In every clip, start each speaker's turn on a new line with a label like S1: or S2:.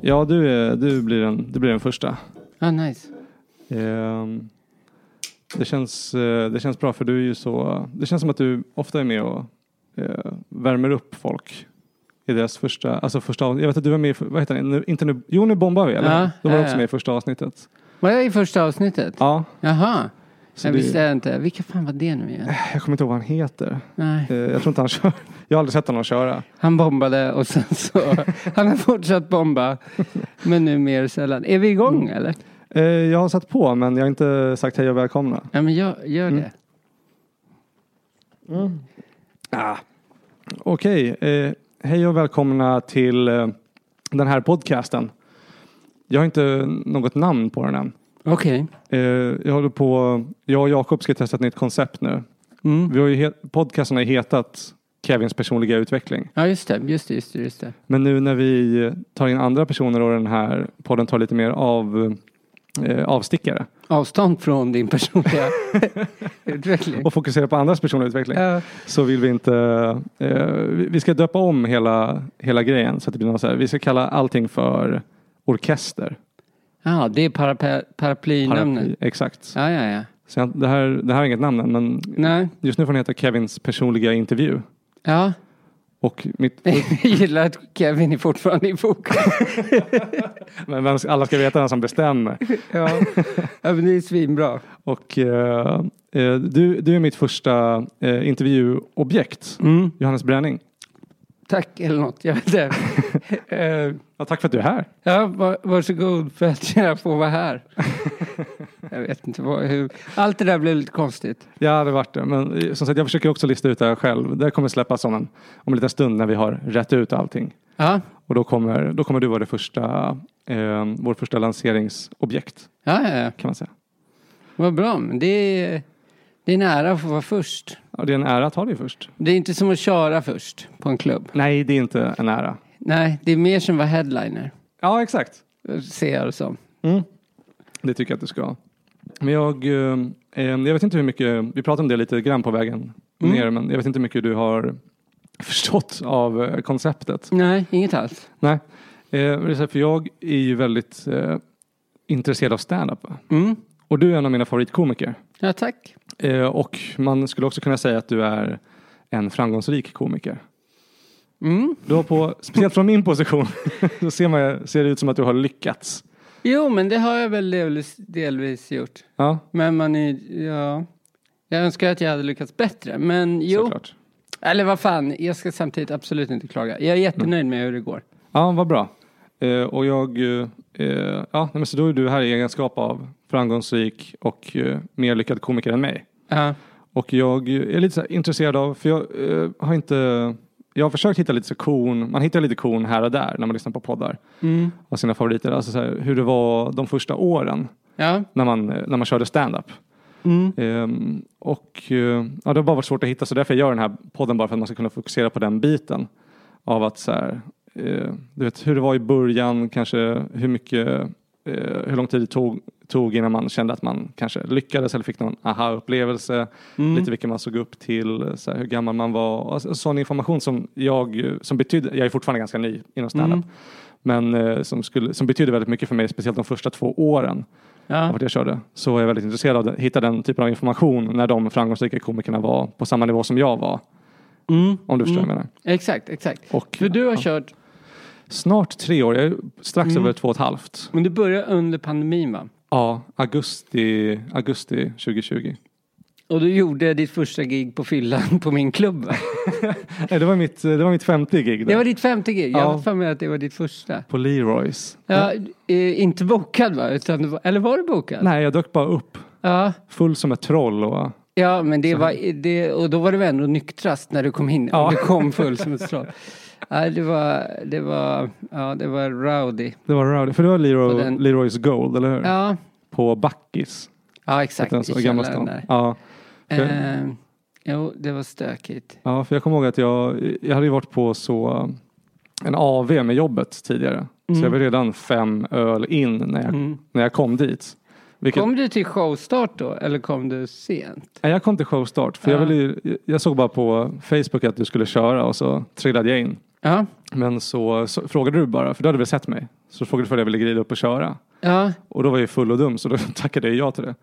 S1: Ja, du, är, du, blir, den, du blir den första.
S2: Ah, nice.
S1: Ehm, det, känns, eh, det känns bra för du är ju så... Det känns som att du ofta är med och eh, värmer upp folk i deras första... Alltså första av- Jag vet att du var med i... Vad heter det? Nu, inte nu, jo, nu bombar vi, eller?
S2: Ja,
S1: Då var du
S2: ja,
S1: också
S2: ja.
S1: med i första avsnittet.
S2: Var jag i första avsnittet?
S1: Ja,
S2: Jaha.
S1: så
S2: Jag
S1: det-
S2: visste jag inte. Vilka fan var det nu igen?
S1: jag kommer inte ihåg vad han heter.
S2: Nej.
S1: Eh, jag tror inte han kör. Jag har aldrig sett honom köra.
S2: Han bombade och sen så... Han har fortsatt bomba. Men nu mer sällan. Är vi igång eller?
S1: Eh, jag har satt på, men jag har inte sagt hej och välkomna.
S2: Ja men jag gör
S1: Mm.
S2: det.
S1: Ah. Okej, eh, hej och välkomna till eh, den här podcasten. Jag har inte något namn på den än.
S2: Okej.
S1: Eh, jag håller på, jag och Jakob ska testa ett nytt koncept nu.
S2: Mm.
S1: Vi har ju he- podcasten har ju hetat Kevins personliga utveckling.
S2: Ja just det, just det, just det. Just det.
S1: Men nu när vi tar in andra personer och den här podden tar lite mer av eh, avstickare
S2: Avstånd från din personliga utveckling.
S1: och fokuserar på andras personliga utveckling
S2: Ja.
S1: så vill vi inte, eh, vi vi ska döpa om hela, hela grejen så att det blir något så här, vi ska kalla allting för orkester.
S2: Ja, det är paraply, paraplynamnet.
S1: Paraply, Exakt.
S2: Ja, ja, ja.
S1: Så jag, det, här, det här är inget namn än, men
S2: Nej.
S1: just nu får den heta Kevins personliga intervju.
S2: Ja.
S1: Och mitt,
S2: Jag gillar att Kevin är fortfarande i fokus.
S1: men vem- alla ska veta vem som bestämmer.
S2: Ja, ja men det är svinbra.
S1: Och eh, eh, du, du är mitt första eh, intervjuobjekt.
S2: Mm.
S1: Johannes Bränning.
S2: Tack eller något, jag vet inte. Eh,
S1: Ja, tack för att du är här.
S2: ja, var, varsågod för att jag får vara här. jag vet inte vad, hur. Allt det där blev lite konstigt.
S1: Ja, det vart det. Men eh, som sagt, jag försöker också lista ut det här själv. Det här kommer släppas om en, om en liten stund när vi har rätt ut allting.
S2: Ja,
S1: Och då kommer, då kommer du vara det första, eh, vårt första lanseringsobjekt
S2: ja, ja, ja.
S1: kan man säga.
S2: vad bra. Men det är, det är en ära att få vara först.
S1: Ja, det är en ära att ha dig först.
S2: Det är inte som att köra först på en klubb.
S1: Nej, det är inte en ära.
S2: Nej, det är mer som att vara headliner.
S1: Ja, exakt.
S2: Ser jag det som.
S1: Det tycker jag att du ska. Men jag, eh, eh, jag vet inte hur mycket, vi pratade om det lite grann på vägen ner, men jag vet inte hur mycket du har förstått av eh, konceptet.
S2: Nej, inget alls.
S1: Nej, eh, men det är så här, för jag är ju väldigt eh, intresserad av stand-up. va?
S2: Mm.
S1: Och du är en av mina favoritkomiker.
S2: Ja, tack.
S1: Eh, och man skulle också kunna säga att du är en framgångsrik komiker.
S2: Mm.
S1: Du har på, speciellt från min position, då ser, man, ser det ut som att du har lyckats.
S2: Jo, men det har jag väl delvis, delvis gjort.
S1: Ja,
S2: Men man är ja. Jag önskar att jag hade lyckats bättre, men jo.
S1: såklart.
S2: Eller vad fan, jag ska samtidigt absolut inte klaga. Jag är jättenöjd med hur det går.
S1: Ja, vad bra. Eh, och jag, eh, eh, ja, nej, men så då är du här i egenskap av framgångsrik och eh, mer lyckad komiker än mig.
S2: Ja,
S1: Och jag är lite så här intresserad av, för jag eh, har inte, jag har försökt hitta lite så korn, man hittar lite korn här och där när man lyssnar på poddar
S2: mm.
S1: av sina favoriter. Alltså så här, hur det var de första åren
S2: ja.
S1: när man, eh, när man körde stand-up.
S2: Mm.
S1: Ehm, och eh, ja, det har bara varit svårt att hitta så därför gör jag den här podden bara för att man ska kunna fokusera på den biten av att så här, eh, du vet hur det var i början, kanske hur mycket, eh, hur lång tid det tog, tog innan man kände att man kanske lyckades eller fick någon aha-upplevelse,
S2: Mm.
S1: lite vilka man såg upp till, så här, hur gammal man var och så- sån information som jag, eh, som betydde, jag är fortfarande ganska ny inom standup, men eh, som, skulle, som betydde väldigt mycket för mig, speciellt de första två åren av
S2: ja.
S1: vart jag körde så är jag väldigt intresserad av att hitta den typen av information när de framgångsrika komikerna var på samma nivå som jag var.
S2: Mm.
S1: Om du förstår vad jag menar.
S2: Exakt, exakt.
S1: Och
S2: För du har
S1: ja,
S2: kört,
S1: snart tre år, jag är strax
S2: Mm.
S1: över två och ett halvt.
S2: men du började under pandemin va?
S1: Ja, augusti, augusti 2020.
S2: Och du gjorde ditt första gig på fyllan på min klubb va?
S1: Nej, Eh, det var mitt, det var mitt femte gig där.
S2: Det var ditt femte gig, jag
S1: Ja.
S2: har för mig att det var ditt första.
S1: På Leroys.
S2: Ja, eh, inte bokad va? Utan, det var- eller var du bokad?
S1: Nej, jag dök bara upp.
S2: Ja.
S1: Full som ett troll och eh,
S2: Ja, men det var, det, och då var du väl ändå nyktrast när du kom in.
S1: Ja.
S2: Du kom full som ett troll. Ja, det var, det var, ja, det var rowdy.
S1: det var rowdy. För det var Leroy,
S2: På den-
S1: Leroys Gold, eller hur?
S2: Ja,
S1: På Backis.
S2: ja
S1: heter
S2: exakt.
S1: den så,
S2: I
S1: Gamla
S2: källaren
S1: stan.
S2: där.
S1: Ja. För-
S2: Eh, jo, det var stökigt.
S1: Ja, för jag kommer ihåg att jag, jag hade ju varit på så en AV med jobbet tidigare. Så jag
S2: Mm.
S1: var redan fem öl in när jag, när jag kom dit. Vilket,
S2: Kom du till showstart då, eller kom du sent?
S1: Nej, jag kom till showstart för
S2: Ja.
S1: jag, ville, ju- jag såg bara på Facebook att du skulle köra och så trillade jag in.
S2: Ja.
S1: Men så, så frågade du bara, för du hade väl sett mig. Så frågade du för jag ville grida upp och köra.
S2: Ja.
S1: Och då var jag ju full och dum så då tackade jag ja till det.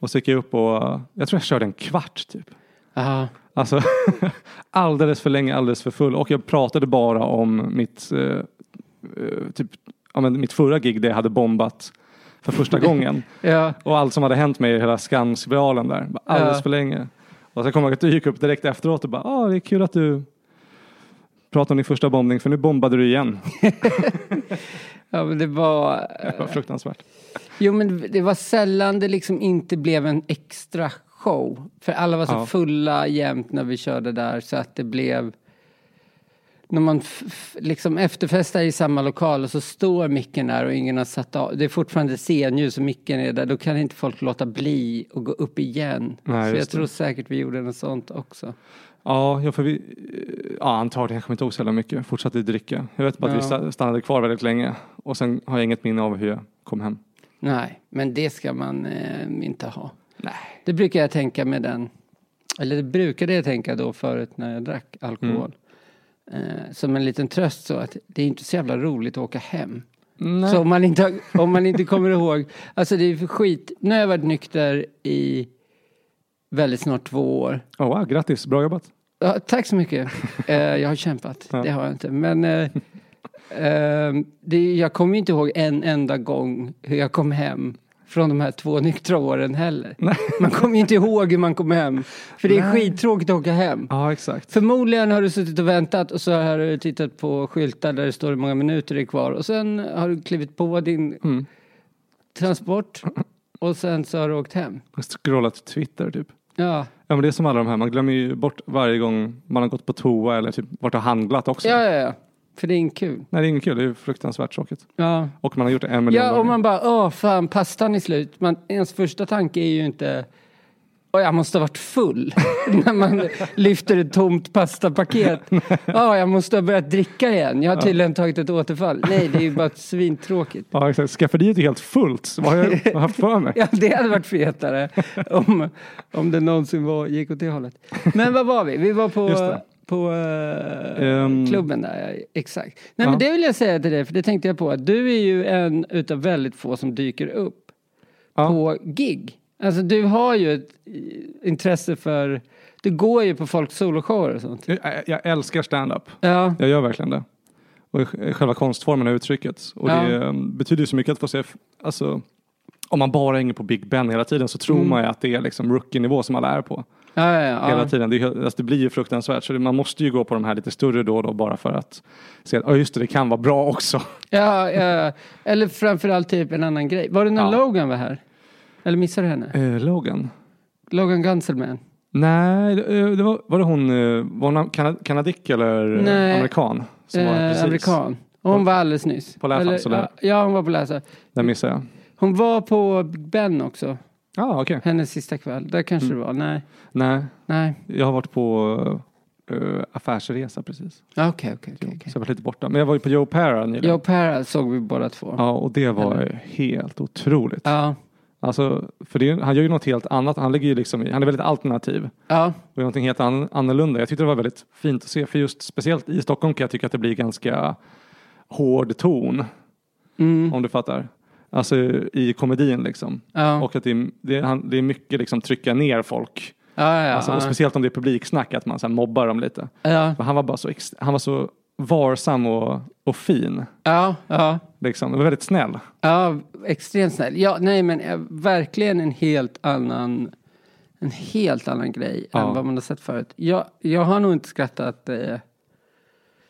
S1: Och så gick jag upp och jag tror jag körde en kvart typ.
S2: Ja.
S1: Alltså alldeles för länge, alldeles för full. Och jag pratade bara om mitt, eh, eh, typ, ja, men mitt förra gig där jag hade bombat för första gången.
S2: Ja.
S1: Och allt som hade hänt mig i hela skamspiralen där. Bara Alldeles
S2: Ja.
S1: för länge. Och sen kom jag ihåg att du gick upp direkt efteråt och bara, ah, det är kul att du pratar om din första bombning för nu bombade du igen.
S2: ja, men det var...
S1: Det var fruktansvärt.
S2: Jo, men det var sällan det liksom inte blev en extra show. För alla var så
S1: Ja.
S2: fulla jämt när vi körde där så att det blev... När man f- f- liksom efterfestar i samma lokal och så står micken där och ingen har satt av. Det är fortfarande scenljus och micken är där. Då kan inte folk låta bli och gå upp igen.
S1: Nej,
S2: så jag
S1: just det.
S2: tror säkert vi gjorde något sånt också.
S1: Ja, jag, för vi, ja antagligen. Jag kommer inte ihåg så jävla mycket. Jag fortsatte dricka. Jag vet bara att vi
S2: Ja.
S1: sta- stannade kvar väldigt länge. Och sen har jag inget minne av hur jag kom hem.
S2: Nej, men det ska man eh, inte ha.
S1: Nej.
S2: Det brukar jag tänka med den. Eller det brukade jag tänka då förut när jag drack alkohol.
S1: Mm.
S2: Eh, som en liten tröst så att det är inte så jävla roligt att åka hem.
S1: Nej.
S2: Så om man, inte, har- om man inte kommer ihåg. Alltså det är för skit. Nu har jag varit nykter i väldigt snart två år.
S1: Oh, wow, grattis, bra jobbat.
S2: Ja, tack så mycket. Eh, jag har kämpat,
S1: Ja.
S2: det har jag inte. Men eh, eh, det, jag kommer ju inte ihåg en enda gång hur jag kom hem från de här två nyktra åren heller.
S1: Nej.
S2: Man kommer ju inte ihåg hur man kom hem, för det är
S1: Nej.
S2: skittråkigt att åka hem.
S1: Ja, exakt.
S2: Förmodligen har du suttit och väntat och så har du tittat på skyltar där det står hur många minuter det är kvar och sen har du klivit på din
S1: Mm.
S2: transport och sen så har du åkt hem.
S1: Jag har Scrollat Twitter typ.
S2: Ja,
S1: Ja, men det är som alla de här. Man glömmer ju bort varje gång man har gått på toa eller typ varit och handlat också.
S2: ja, ja, ja. för det är inte kul.
S1: Nej, det är inget kul. Det är ju fruktansvärt tråkigt.
S2: Ja.
S1: Och man har gjort det en miljon
S2: Ja, och
S1: gånger.
S2: man bara, åh fan, pastan är slut. Man, ens första tanke är ju inte, åh jag måste ha varit full. när man lyfter ett tomt pastapaket. Ja, jag måste ha börjat dricka igen. Jag har tydligen tagit ett återfall. Nej, det är ju bara svintråkigt.
S1: Ja, exakt. Skafferiet är helt fullt. Så Vad har jag haft för mig?
S2: Ja, det hade varit fetare om, om det någonsin var, gick åt det hållet. Men vad var vi? Vi var
S1: Just
S2: på,
S1: det.
S2: på eh,
S1: Ehm.
S2: klubben där, ja, exakt. Nej,
S1: Ja.
S2: men det vill jag säga till dig, för det tänkte jag på. att Du är ju en utav väldigt få som dyker upp
S1: Ja.
S2: på gig. Alltså du har ju ett eh, intresse för, du går ju på folks soloshower och sånt.
S1: Jag, jag älskar stand-up.
S2: Ja,
S1: Jag gör verkligen det. Och sj- själva konstformen och uttrycket. Och det
S2: Ja.
S1: eh, betyder ju så mycket att få se, f- alltså, om man bara hänger på Big Ben hela tiden så tror
S2: Mm.
S1: man ju att det är liksom rookie-nivå som alla är på.
S2: ja, ja.
S1: Hela
S2: ja.
S1: tiden. Det, är, ju- alltså, det blir ju fruktansvärt. Så det, man måste ju gå på de här lite större då och då bara för att se att, ja just det, det kan vara bra också.
S2: ja, ja. Eller framförallt typ en annan grej. Var det när
S1: Ja.
S2: Logan var här? Eller missade du henne?
S1: Eh, Logan?
S2: Logan Gunselman?
S1: Nej, det, eh, det var, var det hon, eh, var hon kana, kanadick eller eh,
S2: Nej.
S1: amerikan? Som var här
S2: Eh,
S1: precis.
S2: amerikan. Och hon var alldeles nyss.
S1: På Läfan,
S2: Eller,
S1: sådär.
S2: Ja, hon var på Läsa.
S1: Den missade jag.
S2: Hon var på Big Ben också,
S1: Ja, ah, okej.
S2: hennes sista kväll. Där kanske
S1: Mm.
S2: det var. Nej,
S1: Nej,
S2: nej.
S1: jag har varit på eh, affärsresa precis.
S2: Ja, Okej, okej, okej,
S1: Så
S2: okej.
S1: jag var lite borta. Men jag var ju på Joe Para nyligen.
S2: Jag och Para såg vi båda två.
S1: Ja, och det var ju helt otroligt.
S2: Ja,
S1: Alltså, för det, är- han gör ju något helt annat. Han ligger ju liksom i, han är väldigt alternativ.
S2: ja,
S1: Och gör någonting helt an, annorlunda. Jag tyckte det var väldigt fint att se. För just speciellt i Stockholm kan jag tycka att det blir ganska hård ton.
S2: mm,
S1: Om du fattar. Alltså i komedin liksom.
S2: ja,
S1: Och att det är, det, är, han, det är mycket liksom trycka ner folk.
S2: ja, ja,
S1: Alltså, och
S2: ja,
S1: speciellt om det är publiksnack att man så här mobbar dem lite.
S2: ja,
S1: Men han var bara så, ex- han var så varsam och, och fin.
S2: ja, ja,
S1: Liksom. Han var väldigt snäll.
S2: ja, extremt snäll. Ja, nej, men eh, verkligen en helt annan, en helt annan grej
S1: Ja.
S2: än vad man har sett förut. Jag, jag har nog inte skrattat eh,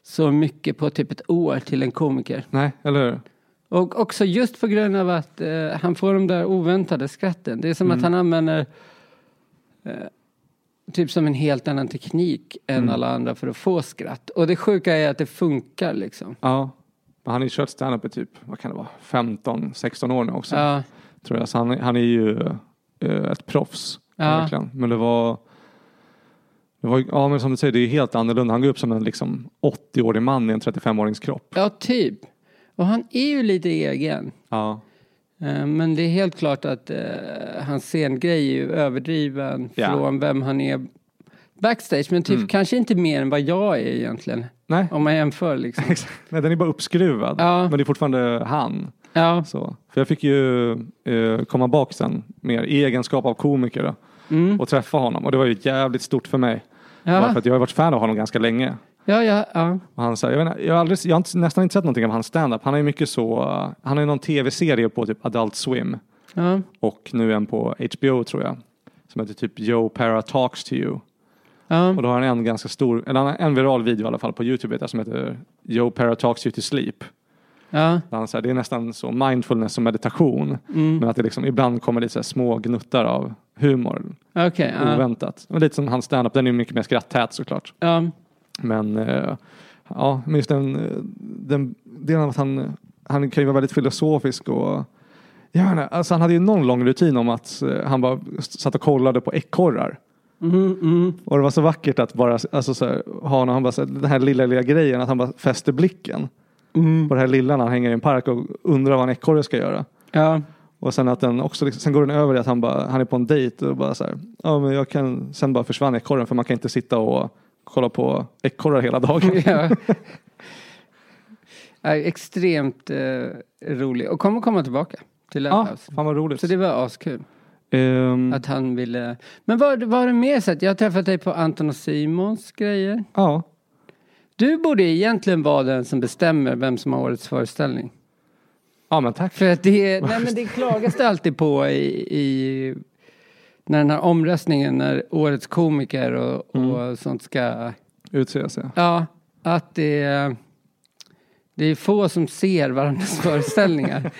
S2: så mycket på typ ett år till en komiker.
S1: Nej, eller hur?
S2: Och också just på grund av att eh, han får de där oväntade skratten. Det är som att han använder eh, typ som en helt annan teknik än alla andra för att få skratt. Och det sjuka är att det funkar liksom.
S1: Ja. Men han har ju kört standup i typ, vad kan det vara, 15-16 år nu också.
S2: Ja,
S1: Tror jag. Så han, han är ju eh, ett proffs.
S2: Ja.
S1: Verkligen. Men det var, det var, ja men som du säger, det är helt annorlunda. Han går upp som en liksom 80-årig man i en 35-årings kropp.
S2: ja, typ. Och han är ju lite egen.
S1: Ja.
S2: Eh, Men det är helt klart att eh, hans scengrej är ju överdriven
S1: Ja. Mm.
S2: från vem han är backstage. Men typ kanske inte mer än vad jag är egentligen.
S1: Nej.
S2: Om man jämför liksom.
S1: Exakt. Nej, den är bara uppskruvad.
S2: Ja.
S1: Men det är fortfarande han.
S2: Ja.
S1: Så. För jag fick ju eh, komma bak sen mer i egenskap av komiker då,
S2: Mm.
S1: och träffa honom. Och det var ju jävligt stort för mig. Bara För
S2: Ja.
S1: att jag har varit fan av honom ganska länge.
S2: Ja, ja, ja.
S1: Och han, så här, jag, vet, inte, jag, har aldrig, jag har inte, nästan inte sett någonting av hans standup. Han är ju mycket så, eh, han har ju någon tv-serie på typ Adult Swim.
S2: ja.
S1: Och nu en på HBO tror jag. Som heter typ Joe Para Talks to You.
S2: ja.
S1: Och då har han en ganska stor, eller han har en viral video i alla fall på YouTube vet jag, som heter Joe Para Talks You to Sleep.
S2: ja.
S1: Där han, så här, det är nästan så mindfulness som meditation.
S2: Mm.
S1: Men att det liksom, ibland kommer lite så här små gnuttar av humor.
S2: Okej. ja.
S1: Oväntat. Men Lite som hans standup, den är ju mycket mer skrattät såklart.
S2: Ja.
S1: Men eh, ja, men just den, eh, den delen av att han, han kan ju vara väldigt filosofisk och jag vet inte, alltså han hade ju någon lång rutin om att eh, han bara satt och kollade på ekorrar.
S2: Mm, mm.
S1: Och det var så vackert att bara alltså, så här, ha honom, han bara, så här, den här lilla, lilla grejen, att han bara fäster blicken
S2: mm.
S1: på det här lilla när han hänger i en park och undrar vad en ekorre ska göra.
S2: Ja.
S1: Och sen att den också, liksom- sen går den över i att han, bara, han är på en dejt och bara så här, ja men jag kan, sen bara försvann ekorren för man kan inte sitta och kolla på ekorrar hela dagen.
S2: ja. Är extremt eh, rolig och kommer komma tillbaka till Lab
S1: Ja,
S2: House.
S1: fan vad roligt.
S2: Så det var askul
S1: Ehm,
S2: att han ville. Men var, var det mer så att jag har träffat dig på Anton och Simons grejer?
S1: Ja,
S2: Du borde egentligen vara den som bestämmer vem som har årets föreställning.
S1: ja men tack.
S2: För att det, nej men det klagas det alltid på i, i när den här omröstningen, när årets komiker och, och sånt ska
S1: Utses jag.
S2: Ja, att det är, det är få som ser varandras föreställningar.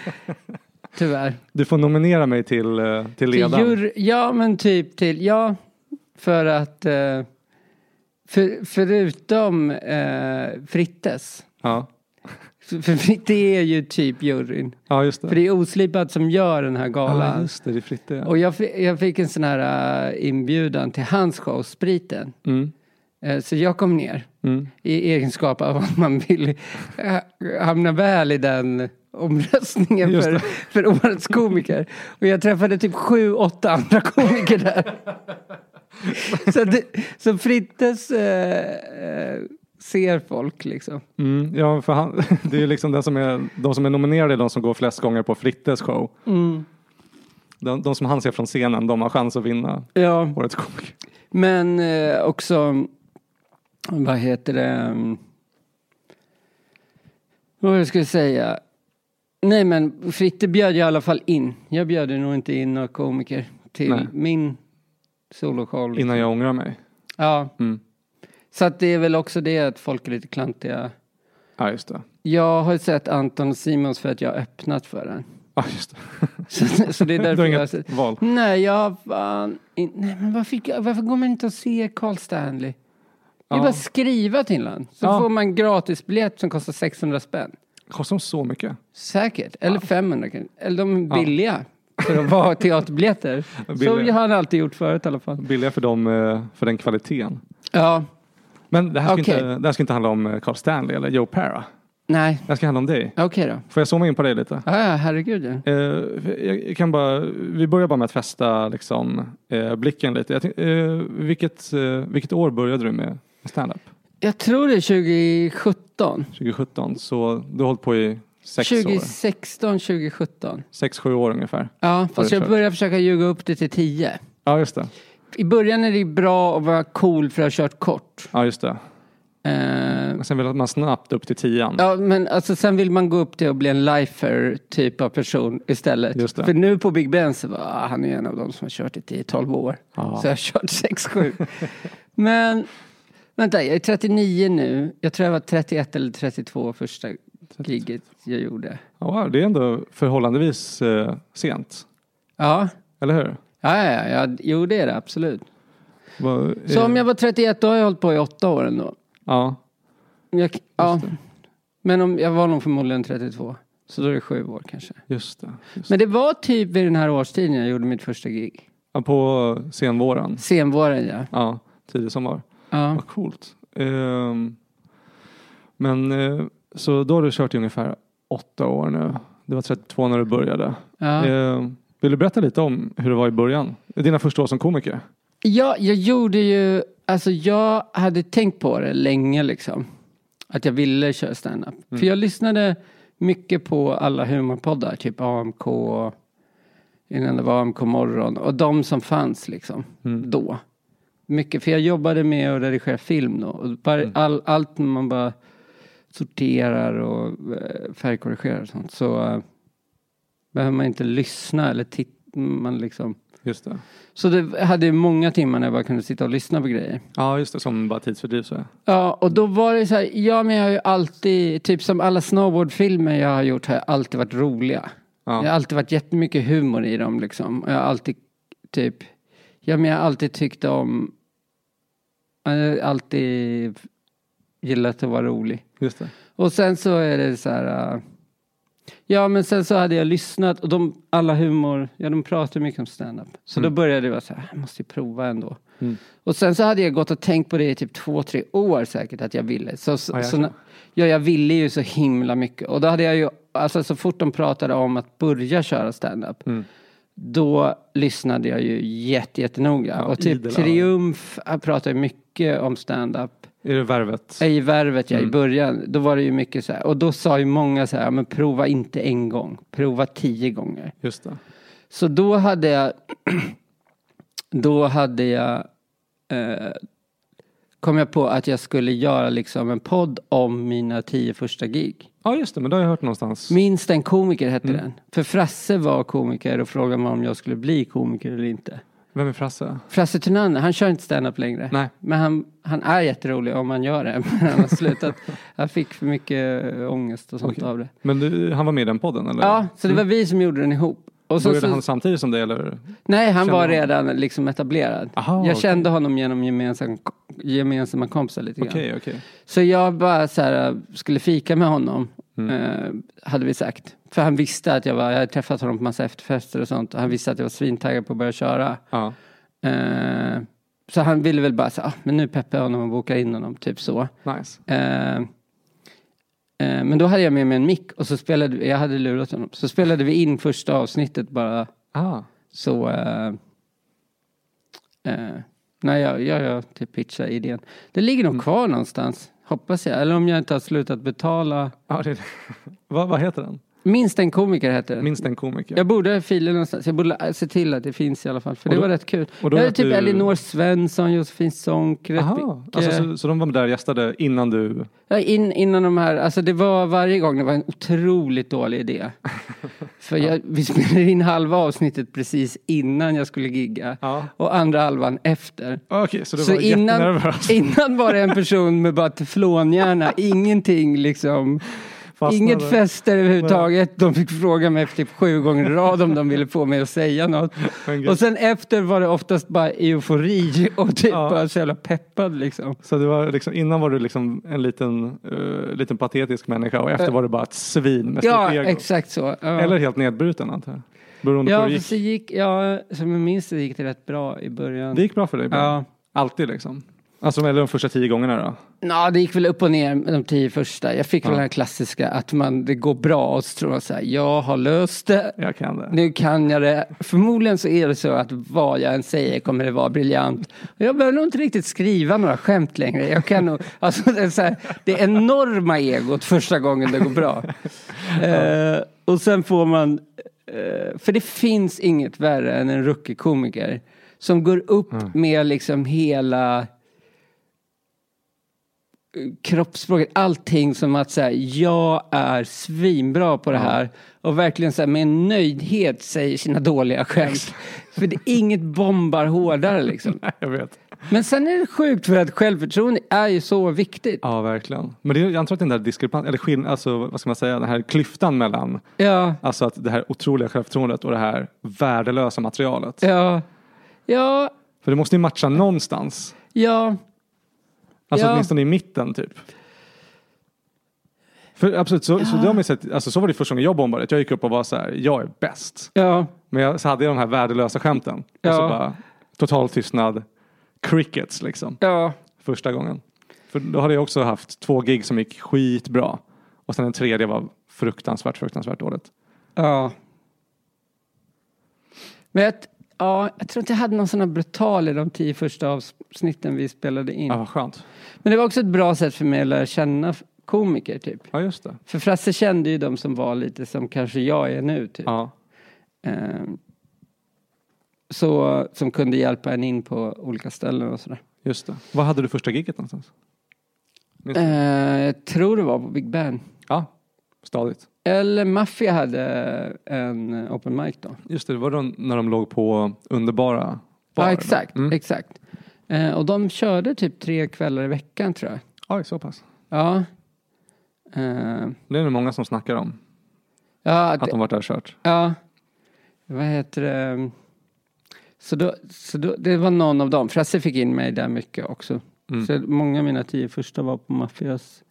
S2: Tyvärr.
S1: Du får nominera mig till, eh, till
S2: Till
S1: ledaren.
S2: jur, ja, men typ till, ja, för att eh, för, förutom eh, Frittes,
S1: Ja.
S2: för, för Fritte är ju typ juryn.
S1: ja, just
S2: För
S1: det.
S2: det är Oslipad som gör den här
S1: Ja,
S2: galan.
S1: just det, det är Fritte. ja.
S2: Och jag, fi- jag fick en sån här eh, inbjudan till hans show, Spriten.
S1: Mm.
S2: Eh, så jag kom ner.
S1: Mm.
S2: i egenskap av att man vill eh, hamna väl i den omröstningen
S1: Just
S2: för,
S1: det.
S2: för årets komiker. Och jag träffade typ sju, åtta andra komiker där. så, det, så Frittes eh, eh, ser folk liksom.
S1: Mm. Ja, för han, det är ju liksom den som är, de som är nominerade är de som går flest gånger på Frittes show.
S2: Mm.
S1: De, de som han ser från scenen, de har chans att vinna
S2: Ja,
S1: Årets komiker.
S2: men eh, också, vad heter det, mm, vad var det jag skulle säga? Nej men Fritte bjöd jag i alla fall in. Jag bjöd ju nog inte in några komiker till
S1: Nej.
S2: min soloshow.
S1: Innan jag ångrar mig.
S2: Ja.
S1: Mm.
S2: Så att det är väl också det att folk är lite klantiga.
S1: Ja, just det.
S2: Jag har ju sett Anton och Simons för att jag har öppnat för den.
S1: Ja, just det.
S2: Så, så det är
S1: Du
S2: därför
S1: har
S2: jag har sett.
S1: inget val.
S2: Nej, jag har fan... in- Nej, men varför, fick jag- varför går man inte och ser Carl Stanley? Det är
S1: Ja.
S2: bara att skriva till honom. Så
S1: Ja.
S2: får man gratisbiljett som kostar 600 spänn.
S1: Kostar de så mycket?
S2: Säkert. Eller 500 kanske. Eller de är billiga. För att vara teaterbiljetter. Så
S1: Billiga.
S2: har han alltid gjort förut i alla fall.
S1: Billiga för, dem, eh, för den kvaliteten.
S2: Ja.
S1: Men det här, ska
S2: Okej.
S1: inte, det här ska inte handla om eh, Carl Stanley eller Joe Para.
S2: Nej.
S1: Det här ska handla om dig.
S2: Okej då.
S1: Får jag zooma in på dig lite?
S2: Ja, ja, herregud ja.
S1: Eh, jag jag kan bara, vi börjar bara med att fästa liksom, eh, blicken lite. Jag tänk, eh, vilket, eh, vilket år började du med med stand-up?
S2: Jag tror det är 2017.
S1: 2017, så du har hållit på i sex år.
S2: 2016, 2017.
S1: Sex, sju år ungefär.
S2: Ja,
S1: Har
S2: fast
S1: du
S2: jag
S1: kört?
S2: börjar försöka ljuga upp det till 10.
S1: Ja, just det.
S2: I början är det bra att vara cool för att ha kört kort.
S1: Ja, just det.
S2: Eh,
S1: Och sen vill jag att man snabbt upp till tian.
S2: Ja, men alltså sen vill man gå upp till att bli en lifer typ av person istället.
S1: Just det.
S2: För nu på Big Ben så bara, ah, han är en av de som har kört i 10-12 år.
S1: Ja.
S2: Så jag har kört 6-7. men vänta, jag är 39 nu. Jag tror jag var 31 eller 32 första giget jag gjorde.
S1: Ja, wow, det är ändå förhållandevis eh, sent.
S2: Ja,
S1: Eller hur?
S2: ja, ja, ja, jo det är det absolut.
S1: Eh. Vad, eh,
S2: Så om jag var 31 då har jag hållit på i åtta år ändå.
S1: Ja,
S2: Jag, ja. Men om, jag var nog förmodligen 32. Så då är det sju år kanske.
S1: just det. Just. det.
S2: Men det var typ vid den här årstiden jag gjorde mitt första gig.
S1: Ja, på senvåren.
S2: Senvåren ja.
S1: Ja, tidig sommar.
S2: ja.
S1: Vad coolt. Ehm, men eh, så då har du kört i ungefär åtta år nu. Det var 32 när du började.
S2: ja.
S1: Ehm, vill du berätta lite om hur det var i början? Dina första år som komiker?
S2: Jag, jag gjorde ju, alltså jag hade tänkt på det länge liksom. att jag ville köra stand-up. För jag lyssnade mycket på alla humorpoddar, typ AMK, innan det var AMK morgon och de som fanns liksom då. Mycket, för jag jobbade med att redigera film då. Och bara, all, allt när man bara sorterar och eh, färgkorrigerar och sånt så eh, behöver man inte lyssna eller titta. Man liksom.
S1: Just det.
S2: Så det hade ju många timmar när jag bara kunde sitta och lyssna på grejer.
S1: Ja, just det. Som bara tidsfördriv så. ja.
S2: Ja, och då var det så här, ja men jag har ju alltid, typ som alla snowboardfilmer jag har gjort har jag alltid varit roliga.
S1: Ja.
S2: Det har alltid varit jättemycket humor i dem liksom. Och jag har alltid typ, ja men jag har alltid tyckt om, jag har alltid gillat att vara rolig.
S1: Just det.
S2: Och sen så är det så här, äh, ja men sen så hade jag lyssnat och de, alla humor, ja de pratar mycket om stand-up. Så
S1: Mm.
S2: då började det vara så här, "Ah, jag måste ju prova ändå. Och sen så hade jag gått och tänkt på det i typ två, tre år säkert att jag ville. Så, så,
S1: Ja,
S2: ja,
S1: jäklar.
S2: så, när- ja, jag ville ju så himla mycket. Och då hade jag ju, alltså så fort de pratade om att börja köra stand-up,
S1: Mm.
S2: då lyssnade jag ju jätte, jättenoga.
S1: Ja,
S2: och typ
S1: idel öra.
S2: Triumf äh, pratade mycket om stand-up.
S1: Är det värvet?
S2: I Värvet ja, i början. Då var det ju mycket så här. Och då sa ju många så här, "Ja, men prova inte en gång, prova tio gånger.
S1: Just det.
S2: Så då hade jag, då hade jag, eh, kom jag på att jag skulle göra liksom en podd om mina tio första gig.
S1: Ja, just det. Men det har jag hört någonstans.
S2: Minst en komiker hette den. För Frasse var komiker och frågade mig om jag skulle bli komiker eller inte.
S1: Vem är Frasse?
S2: Frasse Thunander, han kör inte stand-up längre.
S1: Nej.
S2: Men han, han är jätterolig om han gör det. Men han har slutat. Han fick för mycket eh, ångest och sånt
S1: Okej. Mm.
S2: av det.
S1: Men du, han var med i den podden eller?
S2: Ja, så det var vi som gjorde den ihop. Och så,
S1: Började
S2: så,
S1: han samtidigt som dig eller?
S2: nej, han
S1: kände
S2: var
S1: honom?
S2: redan liksom etablerad.
S1: Aha,
S2: jag
S1: okej.
S2: kände honom genom gemensam, gemensamma kompisar lite grann.
S1: Okej, okej.
S2: Så jag bara så här, skulle fika med honom,
S1: Mm.
S2: eh, hade vi sagt. För han visste att jag var, jag hade träffat honom på massa efterfester och sånt. Och han visste att jag var svintaggad på att börja köra.
S1: Ja.
S2: Eh, så han ville väl bara så här, ah, men nu peppar jag honom och bokar in honom, typ så.
S1: Nice.
S2: Eh, eh, men då hade jag med mig en mick och så spelade vi, jag hade lurat honom, så spelade vi in första avsnittet bara
S1: Ah.
S2: så... Eh, eh, när jag, jag, jag typ pitchar idén. Det ligger
S1: Mm.
S2: nog kvar någonstans, hoppas jag. Eller om jag inte har slutat betala.
S1: Ja, det är det. vad, vad heter den?
S2: Minst en komiker heter det.
S1: Minst en komiker.
S2: Jag borde ha filen någonstans. Jag borde eh, se till att det finns i alla fall. För
S1: Och
S2: det
S1: då-
S2: var rätt kul.
S1: och
S2: Jag
S1: då
S2: är
S1: att
S2: typ
S1: du-
S2: Elinor Svensson, Josefin Sonck, rätt
S1: Aha.
S2: mycket.
S1: Alltså, så, så de var där och gästade innan du...
S2: Ja, in, innan de här, alltså det var varje gång det var en otroligt dålig idé. För jag, vi spelade in halva avsnittet precis innan jag skulle gigga
S1: Ja.
S2: och andra halvan efter.
S1: Ah, Okej, så du
S2: Så
S1: var
S2: innan,
S1: jättenervös.
S2: innan var det en person med bara teflonhjärna, ingenting liksom.
S1: Fastnade.
S2: Inget fester överhuvudtaget. De fick fråga mig typ sju gånger i rad om de ville få mig att säga något.
S1: Men gud.
S2: Och sen efter var det oftast bara eufori och typ
S1: Ja.
S2: bara så jävla peppad liksom.
S1: Så det var liksom, innan var du liksom en liten, eh, liten patetisk människa och efter var du bara ett svin med stort
S2: Eh. Ja,
S1: ego.
S2: exakt så. Ja.
S1: Eller helt nedbruten antar jag. Beroende på
S2: Ja,
S1: hur det
S2: fast
S1: gick.
S2: det gick, ja, som jag minns det gick det rätt bra i början.
S1: Det gick bra för dig? ibland.
S2: Ja.
S1: Alltid liksom? Alltså eller de första tio gångerna då?
S2: Nå, det gick väl upp och ner med de tio första. Jag fick
S1: Ja.
S2: väl den här klassiska att man, det går bra och så tror man så här, jag har löst det.
S1: Jag kan det.
S2: Nu kan jag det. Förmodligen så är det så att vad jag än säger kommer det vara briljant. Och Jag behöver nog inte riktigt skriva några skämt längre. Jag kan nog, alltså det, är så här, det enorma egot första gången det går bra. Eh, och sen får man, eh, för det finns inget värre än en rookie-komiker som går upp med liksom hela kroppsspråket, allting som att säga jag är svinbra på det här och verkligen så här, med en nöjdhet säger sina dåliga skämt. För det, inget bombar hårdare liksom.
S1: Jag vet.
S2: Men sen är det sjukt för att självförtroende är ju så viktigt.
S1: Ja, verkligen. Men det, är- jag antar att den där diskrepans, eller skill, alltså, vad ska man säga, den här klyftan mellan
S2: Ja,
S1: alltså att det här otroliga självförtroendet och det här värdelösa materialet.
S2: ja, ja,
S1: För det måste ju matcha någonstans.
S2: ja.
S1: Alltså
S2: Ja.
S1: åtminstone i mitten typ. För absolut, så, så, det har man ju sett, alltså, så var det första gången jag bombade. att Jag gick upp och var så här, jag är bäst.
S2: ja.
S1: Men jag så hade jag de här värdelösa skämten. Och så
S2: Ja.
S1: bara total tystnad, crickets liksom.
S2: Ja,
S1: första gången. För då hade jag också haft två gig som gick skitbra. Och sen den tredje var fruktansvärt, fruktansvärt dåligt.
S2: ja. Men jag, ja, jag tror inte jag hade någon sån här brutal i de tio första avsnitten vi spelade in.
S1: Ja, vad skönt.
S2: Men det var också ett bra sätt för mig att lära känna f- komiker typ.
S1: Ja, just det.
S2: För Frasse kände ju de som var lite som kanske jag är nu typ.
S1: Ja.
S2: Ehm, så, som kunde hjälpa en in på olika ställen och sådär.
S1: Just det. Vad hade du första giget någonstans? Minns du?
S2: Ehm, jag tror det var på Big Ben.
S1: Ja, stadigt.
S2: Eller Mafia hade en open mic då.
S1: Just det, det var då när de låg på underbara bar,
S2: ja,
S1: eller?
S2: exakt.
S1: Mm.
S2: exakt. Ehm, och de körde typ tre kvällar i veckan tror jag.
S1: Oj, så pass.
S2: Ja. Ehm,
S1: Det är nog många som snackar om
S2: ja,
S1: att de varit där och kört.
S2: Ja. Vad heter det? Så, då, så då, det var någon av dem. Frasse fick in mig där mycket också.
S1: Mm.
S2: Så många av mina tio första var på Mafias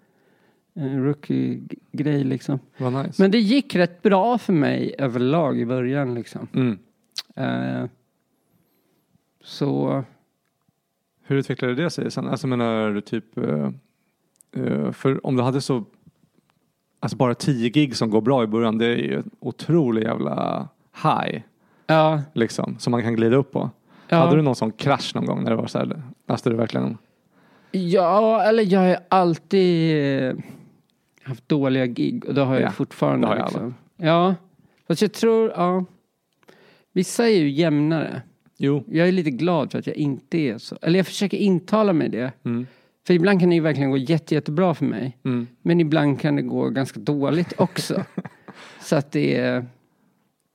S2: eh, rookie-grej liksom.
S1: Vad nice.
S2: Men det gick rätt bra för mig överlag i början liksom.
S1: mm.
S2: Eh, så
S1: Hur utvecklade det sig sen? Alltså menar du typ, eh, eh, för om du hade så, alltså bara 10 gig som går bra i början, det är ju en otrolig jävla high
S2: ja.
S1: liksom, som man kan glida upp på.
S2: ja.
S1: Hade du någon sån krasch någon gång när det var så här, alltså du verkligen,
S2: Ja, eller jag har alltid eh, haft dåliga gig och det har jag
S1: Ja,
S2: fortfarande.
S1: det har jag
S2: liksom. Ja, fast jag tror, ja. Vissa är ju jämnare.
S1: jo,
S2: Jag är lite glad för att jag inte är så. Eller jag försöker intala mig det.
S1: mm.
S2: För ibland kan det ju verkligen gå jätte, jättebra för mig.
S1: Mm.
S2: Men ibland kan det gå ganska dåligt också. så att det är...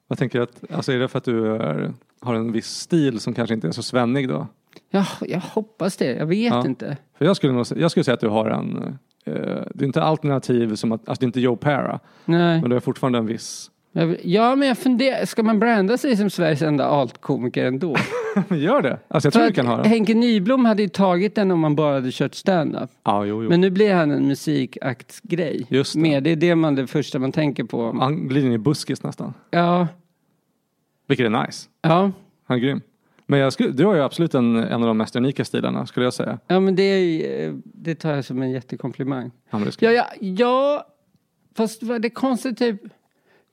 S1: Jag tänker att, alltså är det för att du är, har en viss stil som kanske inte är så svennig då?
S2: Ja, jag hoppas det. Jag vet
S1: Ja.
S2: inte.
S1: För jag skulle, nog, sä- jag skulle säga att du har en, eh, du är inte alternativ som att, alltså det är inte Joe Para,
S2: Nej.
S1: men du har fortfarande en viss,
S2: Jag vill- Ja, men jag funderar. Ska man branda sig som Sveriges enda altkomiker ändå?
S1: gör det? Alltså jag tror
S2: För
S1: du kan ha
S2: att
S1: den.
S2: Henke Nyblom hade ju tagit den om man bara hade kört stand-up.
S1: Ja, jo, jo.
S2: Men nu blir han en musikaktsgrej.
S1: Just det.
S2: Med. Det är det man det första man tänker på.
S1: Han glider in i buskis nästan.
S2: Ja,
S1: Vilket är nice.
S2: ja,
S1: Han är grym. Men jag skulle, du har ju absolut en, en av de mest unika stilarna skulle jag säga.
S2: ja men det, är, ju- det tar jag som en jättekomplimang.
S1: Ja, men det skulle,
S2: Ja, ja, ja fast vad det är konstigt typ.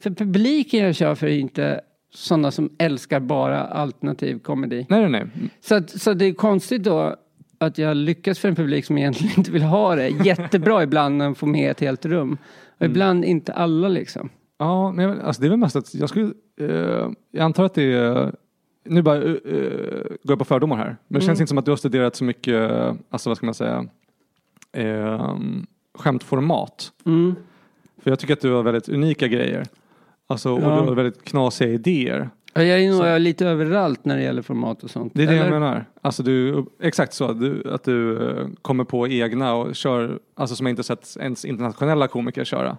S2: För publiken jag kör för är inte sådana som älskar bara alternativ komedi.
S1: nej, nej, nej.
S2: Så, att, så det är konstigt då att jag lyckas för en publik som egentligen inte vill ha det. Jättebra ibland när man får med ett helt rum.
S1: Mm.
S2: Och ibland inte alla liksom.
S1: Ja, men jag, alltså det är väl mest att jag skulle, eh, jag antar att det är, nu bara eh, eh, går jag på fördomar här, men det känns inte som att du har studerat så mycket, eh, alltså vad ska man säga, eh, skämtformat.
S2: Mm.
S1: För jag tycker att du har väldigt unika grejer. Alltså, och
S2: Ja.
S1: du har väldigt knasiga idéer.
S2: Ja, Jag är nog
S1: Så-
S2: jag är lite överallt när det gäller format och sånt.
S1: Det är det
S2: Eller?
S1: jag menar. Alltså du, exakt så, du, att du eh, kommer på egna och kör, alltså som jag inte sett ens internationella komiker köra.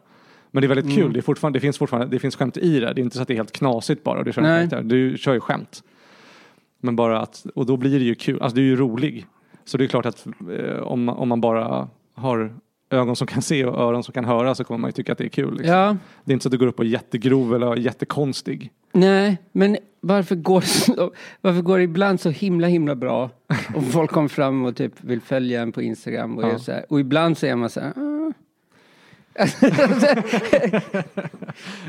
S1: Men det är
S2: Mm.
S1: väldigt kul, det, är fortfarande, det finns fortfarande, det finns skämt i det. Det är inte så att det är helt knasigt bara och du kör en
S2: Nej.
S1: karaktär. Du kör ju skämt. Men bara att, och då blir det ju kul, alltså du är ju rolig. Så det är klart att eh, om, man- om man bara har ögon som kan se och öron som kan höra så kommer man ju tycka att det är kul. Liksom.
S2: Ja,
S1: Det är inte så att du går upp och är jättegrov eller jättekonstig.
S2: nej, men varför går, så- varför går det ibland så himla, himla bra? Och folk kommer fram och typ vill följa en på Instagram och
S1: Ja.
S2: är så här. Och ibland så är man så här. "Ah."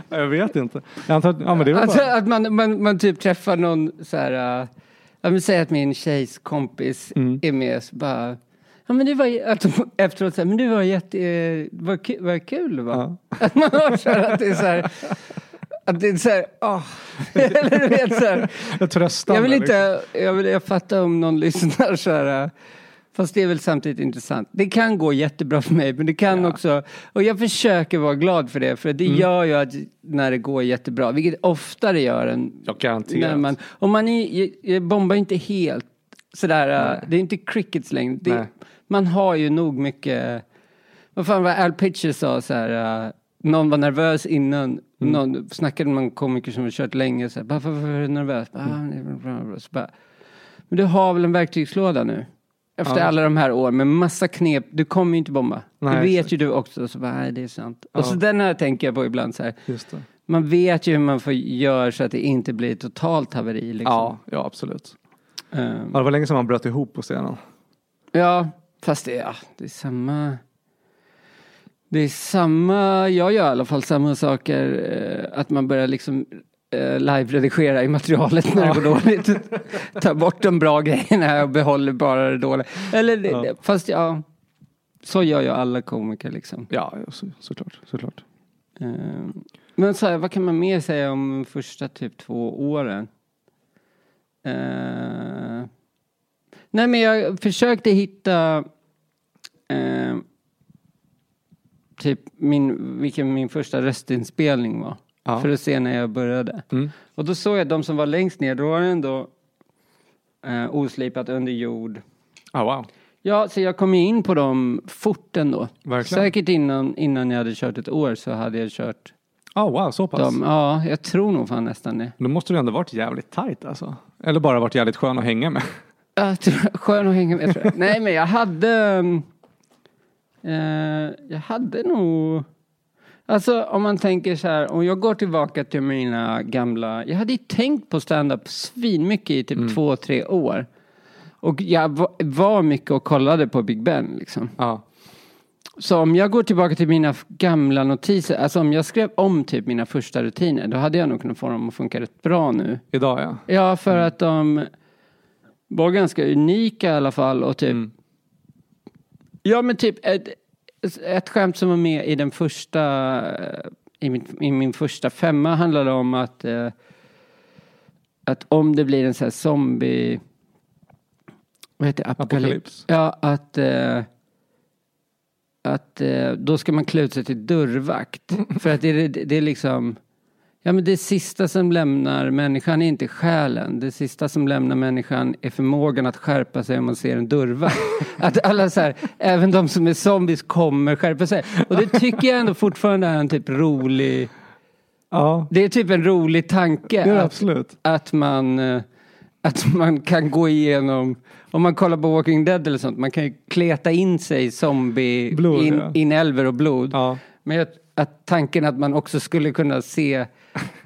S1: Jag vet inte. Jag antar att, ja, men det är väl
S2: Alltså
S1: bara,
S2: att man, man, man typ träffar någon så här. äh, ja, men säg att min tjejs kompis
S1: Mm.
S2: är med så bara. Ja men det var ju- att de efteråt så här, men det var jätte, eh, vad kul, vad kul va? Att man har så här att det är så här. Att det är så här, åh. Eller du vet så här.
S1: jag tröstar
S2: Jag vill
S1: mig, liksom.
S2: inte, jag, vill, jag fattar om någon lyssnar så här. äh, Fast det är väl samtidigt intressant. Det kan gå jättebra för mig, men det kan
S1: Ja.
S2: också... Och jag försöker vara glad för det, för det gör ju att när det går jättebra, vilket oftare gör än...
S1: Jag garanterar.
S2: När man, och man är, jag bombar ju inte helt sådär, äh, det är inte crickets längre. Det,
S1: Nej.
S2: man har ju nog mycket... Vad fan var Al Pitcher sa så här, äh, någon var nervös innan,
S1: Mm.
S2: någon snackade med en komiker som har kört länge, så här, "Bara, varför är du nervös? Bara,
S1: Mm.
S2: "Ah, det är bra, bra, bra." Så bara, men du har väl en verktygslåda nu? Efter
S1: Ja.
S2: alla de här åren med massa knep, du kommer ju inte bomba. det
S1: Nej,
S2: vet
S1: exakt.
S2: ju du också. Så bara, nej, det är sant.
S1: Ja.
S2: Och så den här tänker jag på ibland så här.
S1: Just det.
S2: Man vet ju hur man får göra så att det inte blir totalt haveri. Liksom.
S1: Ja, ja absolut.
S2: Ja.
S1: Ja, det var länge sedan man bröt ihop på scenen.
S2: ja, fast det, ja, det är samma... Det är samma, jag gör i alla fall samma saker, eh, att man börjar liksom eh, live-redigera i materialet när det går dåligt. Ta bort de bra grejerna och behåller bara det dåliga. Eller, det-
S1: Ja.
S2: fast ja, Så gör ju alla komiker liksom.
S1: Ja, så, såklart. såklart.
S2: Eh, Men så här, vad kan man mer säga om de första typ två åren? Eh, nej men jag försökte hitta eh, typ min, vilken min första röstinspelning var.
S1: Ja.
S2: För att se när jag började.
S1: Mm.
S2: Och då såg jag de som var längst ner, då var det ändå eh, oslipat under jord.
S1: Ah, wow.
S2: Ja, så jag kom ju in på dem fort ändå.
S1: Verkligen.
S2: Säkert innan, innan jag hade kört ett år så hade jag kört
S1: Ah, wow, så pass.
S2: dem. Ja, jag tror nog fan nästan det.
S1: Då måste du ändå varit jävligt tajt alltså. Eller bara varit jävligt skön att hänga med.
S2: Jag tror, skön att hänga med tror jag. Nej, men jag hade... mm, Eh, jag hade nog... Alltså om man tänker så här, om jag går tillbaka till mina gamla... Jag hade ju tänkt på stand-up svinmycket i typ två, tre år. Och jag va- var mycket och kollade på Big Ben liksom.
S1: Ja,
S2: Så om jag går tillbaka till mina f- gamla notiser, alltså om jag skrev om typ mina första rutiner, då hade jag nog kunnat få dem att funka rätt bra nu.
S1: idag ja.
S2: Ja, för att de var ganska unika i alla fall och typ... Ja, men typ ett, ett skämt som var med i den första... eh, I min, i min första femma handlade om att... Eh, att om det blir en sån här zombie... Vad heter det? Apokalyps.
S1: Apokalyps.
S2: Ja, att... Eh, att eh, då ska man klä ut sig till dörrvakt. För att det är, det är liksom... Ja, men det sista som lämnar människan är inte själen. Det sista som lämnar människan är förmågan att skärpa sig om man ser en dörrvakt. Att alla så här, även de som är zombies kommer skärpa sig. Och det tycker jag ändå fortfarande är en typ rolig...
S1: Ja,
S2: Det är typ en rolig tanke.
S1: det är det
S2: att-
S1: absolut.
S2: att man, eh, att man kan gå igenom, om man kollar på Walking Dead eller sånt, man kan ju kleta in sig i zombie,
S1: Blod,
S2: in,
S1: ja.
S2: inälvor och blod.
S1: Ja.
S2: Men jag, att tanken att man också skulle kunna se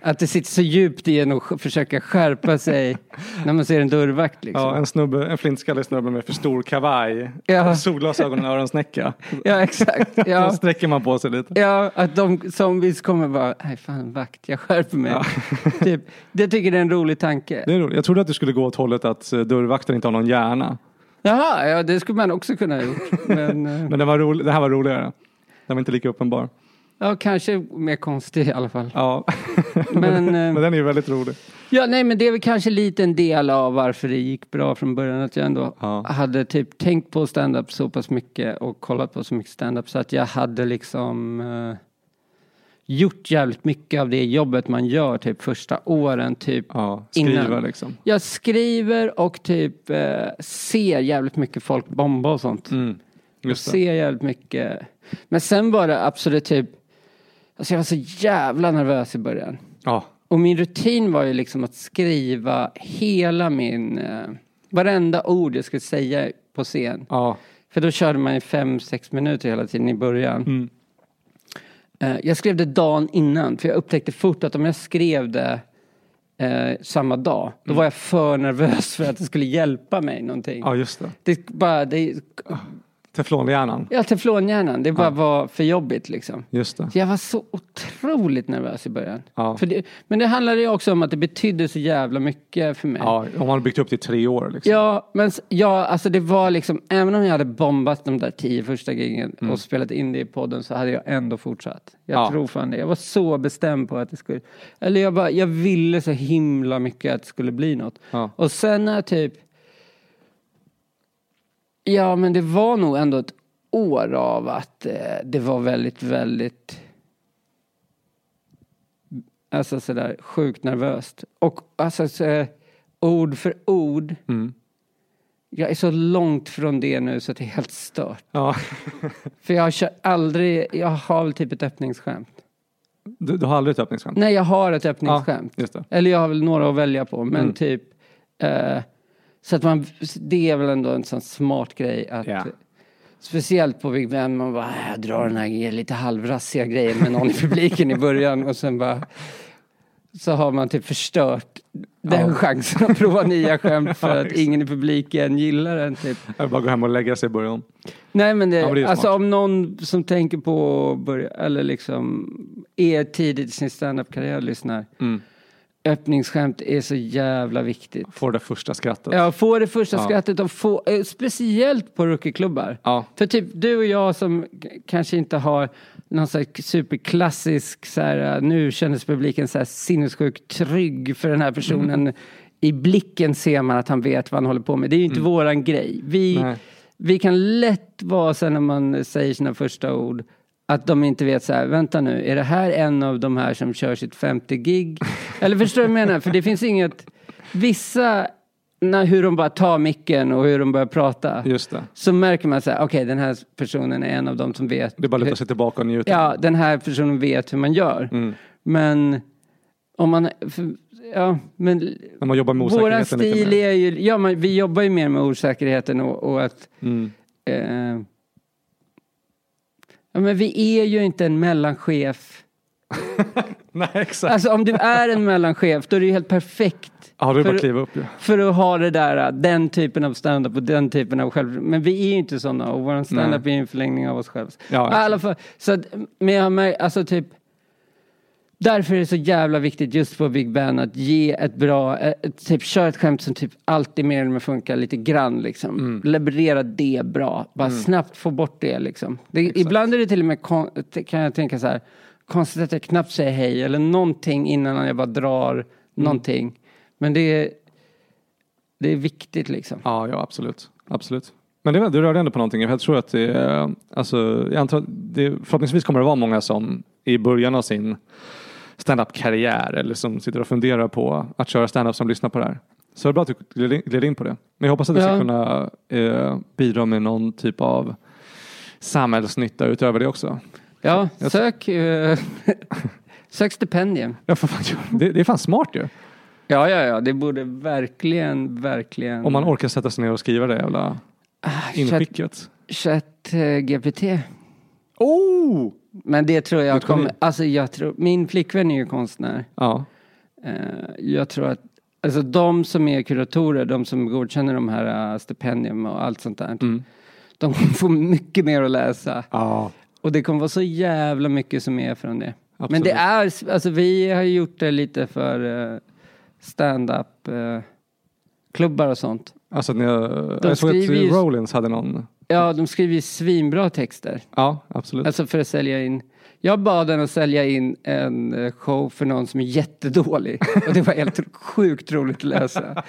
S2: att det sitter så djupt i en och sk- försöka skärpa sig när man ser en dörrvakt liksom.
S1: Ja, en, snubbe, en flintskallig snubbe med för stor kavaj,
S2: Ja.
S1: solglasögon och öronsnäcka.
S2: Ja, exakt.
S1: Då
S2: Ja.
S1: sträcker man på sig lite.
S2: Ja, att de zombies kommer bara, nej fan vakt, jag skärper mig. typ. Det tycker jag är en rolig tanke.
S1: Det är roligt. Jag trodde att du skulle gå åt hållet att eh, dörrvakten inte har någon hjärna.
S2: Jaha, ja det skulle man också kunna ha gjort. Men, eh,
S1: Men den, var rolig, den här var roligare. Den var inte lika uppenbar.
S2: Ja, kanske mer konstig i alla fall.
S1: Ja.
S2: Men,
S1: Men
S2: eh,
S1: den är ju väldigt rolig.
S2: ja, nej, men det är väl kanske lite en del av varför det gick bra från början. Att jag ändå
S1: Ja.
S2: hade typ tänkt på stand-up så pass mycket och kollat på så mycket stand-up så att jag hade liksom eh, gjort jävligt mycket av det jobbet man gör typ första åren. Typ.
S1: Ja,
S2: Innan.
S1: skriva liksom.
S2: Jag skriver och typ eh, ser jävligt mycket folk bomba och sånt.
S1: Mm. Just
S2: Jag
S1: det.
S2: ser jävligt mycket. Men sen var det absolut typ, alltså jag var så jävla nervös i början.
S1: Ja.
S2: Och min rutin var ju liksom att skriva hela min... Eh, varenda ord jag skulle säga på scen.
S1: Ja.
S2: För då körde man ju fem, sex minuter hela tiden i början.
S1: Mm.
S2: Eh, jag skrev det dagen innan, för jag upptäckte fort att om jag skrev det eh, samma dag, då var jag för nervös för att det skulle hjälpa mig någonting.
S1: Mm. ja, just det.
S2: Det bara, det,
S1: Teflonhjärnan.
S2: ja, teflonhjärnan, det bara var för jobbigt liksom.
S1: Just det.
S2: Så Jag var så otroligt nervös i början.
S1: Ja.
S2: För det, men det handlade ju också om att det betydde så jävla mycket för mig.
S1: Ja, om man har byggt upp det i tre år. Liksom.
S2: Ja, men s- ja, alltså det var liksom, även om jag hade bombat de där tio första giggen och spelat in det i podden så hade jag ändå fortsatt. Jag
S1: Mm. Ja.
S2: tror fan det. Jag var så bestämd på att det skulle, eller jag bara, jag ville så himla mycket att det skulle bli något.
S1: Ja.
S2: Och sen när jag typ, ja men det var nog ändå ett år av att eh, det var väldigt, väldigt Alltså sådär sjukt nervöst. Och alltså så, eh, ord för ord. Jag är så långt från det nu så att det är helt stört.
S1: Ja.
S2: För jag kör aldrig, jag har väl typ ett öppningsskämt.
S1: Du, du har aldrig ett öppningsskämt?
S2: Nej, jag har ett öppningsskämt.
S1: Ja, just det. Mm.
S2: Eller jag har väl några att välja på, men typ. Eh, så att man, det är väl ändå en sån smart grej att.
S1: Ja.
S2: Speciellt på Big Ben, man bara, "Äh, jag drar den här lite halvrassiga grejen med någon i publiken i början och sen bara. Så har man typ förstört den chansen att prova nya skämt för att ingen i publiken gillar den typ.
S1: Jag vill bara gå hem och lägga sig i början.
S2: Nej men, det,
S1: men det är ju
S2: alltså
S1: smart.
S2: om någon som tänker
S1: Mm.
S2: på att börja, eller liksom är tidigt i sin standup-karriär lyssnar. öppningsskämt är så jävla viktigt.
S1: Får det första skrattet.
S2: Ja, få det första
S1: Ja.
S2: skrattet och få, eh, speciellt på rookieklubbar.
S1: Ja.
S2: För typ du och jag som k- kanske inte har någon så här superklassisk så här, eh, nu kändes publiken så här sinnessjukt trygg för den här personen.
S1: Mm.
S2: I blicken ser man att han vet vad han håller på med. Det är ju inte våran grej. Vi,
S1: Mm. Nej.
S2: vi kan lätt vara så här när man säger sina första ord att de inte vet så här, vänta nu, är det här en av de här som kör sitt 50 gig? Eller förstår du vad jag menar? För det finns inget, vissa, när, hur de bara tar micken och hur de börjar prata.
S1: Just det.
S2: Så märker man så här, okej den här personen är en av de som vet.
S1: Det är bara Mm. att
S2: hur,
S1: luta sig tillbaka och njuta.
S2: Ja, den här personen vet hur man gör. Men om man, för, ja, men
S1: När man jobbar med
S2: våran
S1: osäkerheten lite
S2: stil
S1: mer.
S2: är ju, ja men vi jobbar ju mer med osäkerheten och, och att
S1: Mm.
S2: Eh, ja, men vi är ju inte en mellanchef.
S1: Nej, exakt.
S2: Alltså om du är en mellanchef då är det ju helt perfekt
S1: Ja, du bara
S2: för-
S1: att kliva upp ju.
S2: för att ha det där, äh, den typen av standup och den typen av själv... Men vi är ju inte sådana och vår standup är ju en förlängning av oss själva.
S1: Ja,
S2: I alla fall, så att, men jag har märkt, alltså typ... Därför är det så jävla viktigt just på Big Ben att ge ett bra, eh, ett, typ kör ett skämt som typ alltid mer eller mindre funkar lite grann liksom. Leverera det bra, bara snabbt få bort det liksom. Det, ibland är det till och med, kon, kan jag tänka så här, konstigt att jag knappt säger hej eller någonting innan jag bara drar någonting. Men det är, det är viktigt liksom.
S1: Ja, ja absolut. absolut. Men det, var- du rörde ändå på någonting. Jag tror att det, är- alltså, jag antar att det, förhoppningsvis kommer det vara många som i början av sin standup-karriär eller som sitter och funderar på att köra standup som lyssnar på det här. Så det är bra att du gled in- gled in på det. Men jag hoppas att du ska
S2: Ja.
S1: kunna eh, bidra med någon typ av samhällsnytta utöver det också.
S2: Ja, sök, eh, sök stipendium.
S1: Ja, för fan, gör det. det, det är fan smart ju.
S2: Ja, ja, ja, det borde verkligen, verkligen.
S1: Om man orkar sätta sig ner och skriva det jävla
S2: Ah, chat-
S1: inskicket.
S2: Chat eh, GPT.
S1: Oh!
S2: Men det tror jag
S1: Något geni.
S2: kommer, alltså jag tror, min flickvän är ju konstnär.
S1: Ja,
S2: Eh, jag tror att, alltså de som är kuratorer, de som godkänner de här eh, stipendium och allt sånt där. De kommer få mycket mer att läsa.
S1: ja.
S2: Och det kommer vara så jävla mycket som är från det.
S1: Absolut.
S2: Men det är, alltså vi har ju gjort det lite för eh, stand-up eh, klubbar och sånt.
S1: Alltså att ni, har-
S2: De
S1: jag såg att
S2: skriver ju-
S1: Rollins hade någon.
S2: Ja, de skriver ju svinbra texter.
S1: Ja, absolut.
S2: Alltså för att sälja in. Jag bad den att sälja in en eh, show för någon som är jättedålig. Och det var helt sjukt roligt att läsa.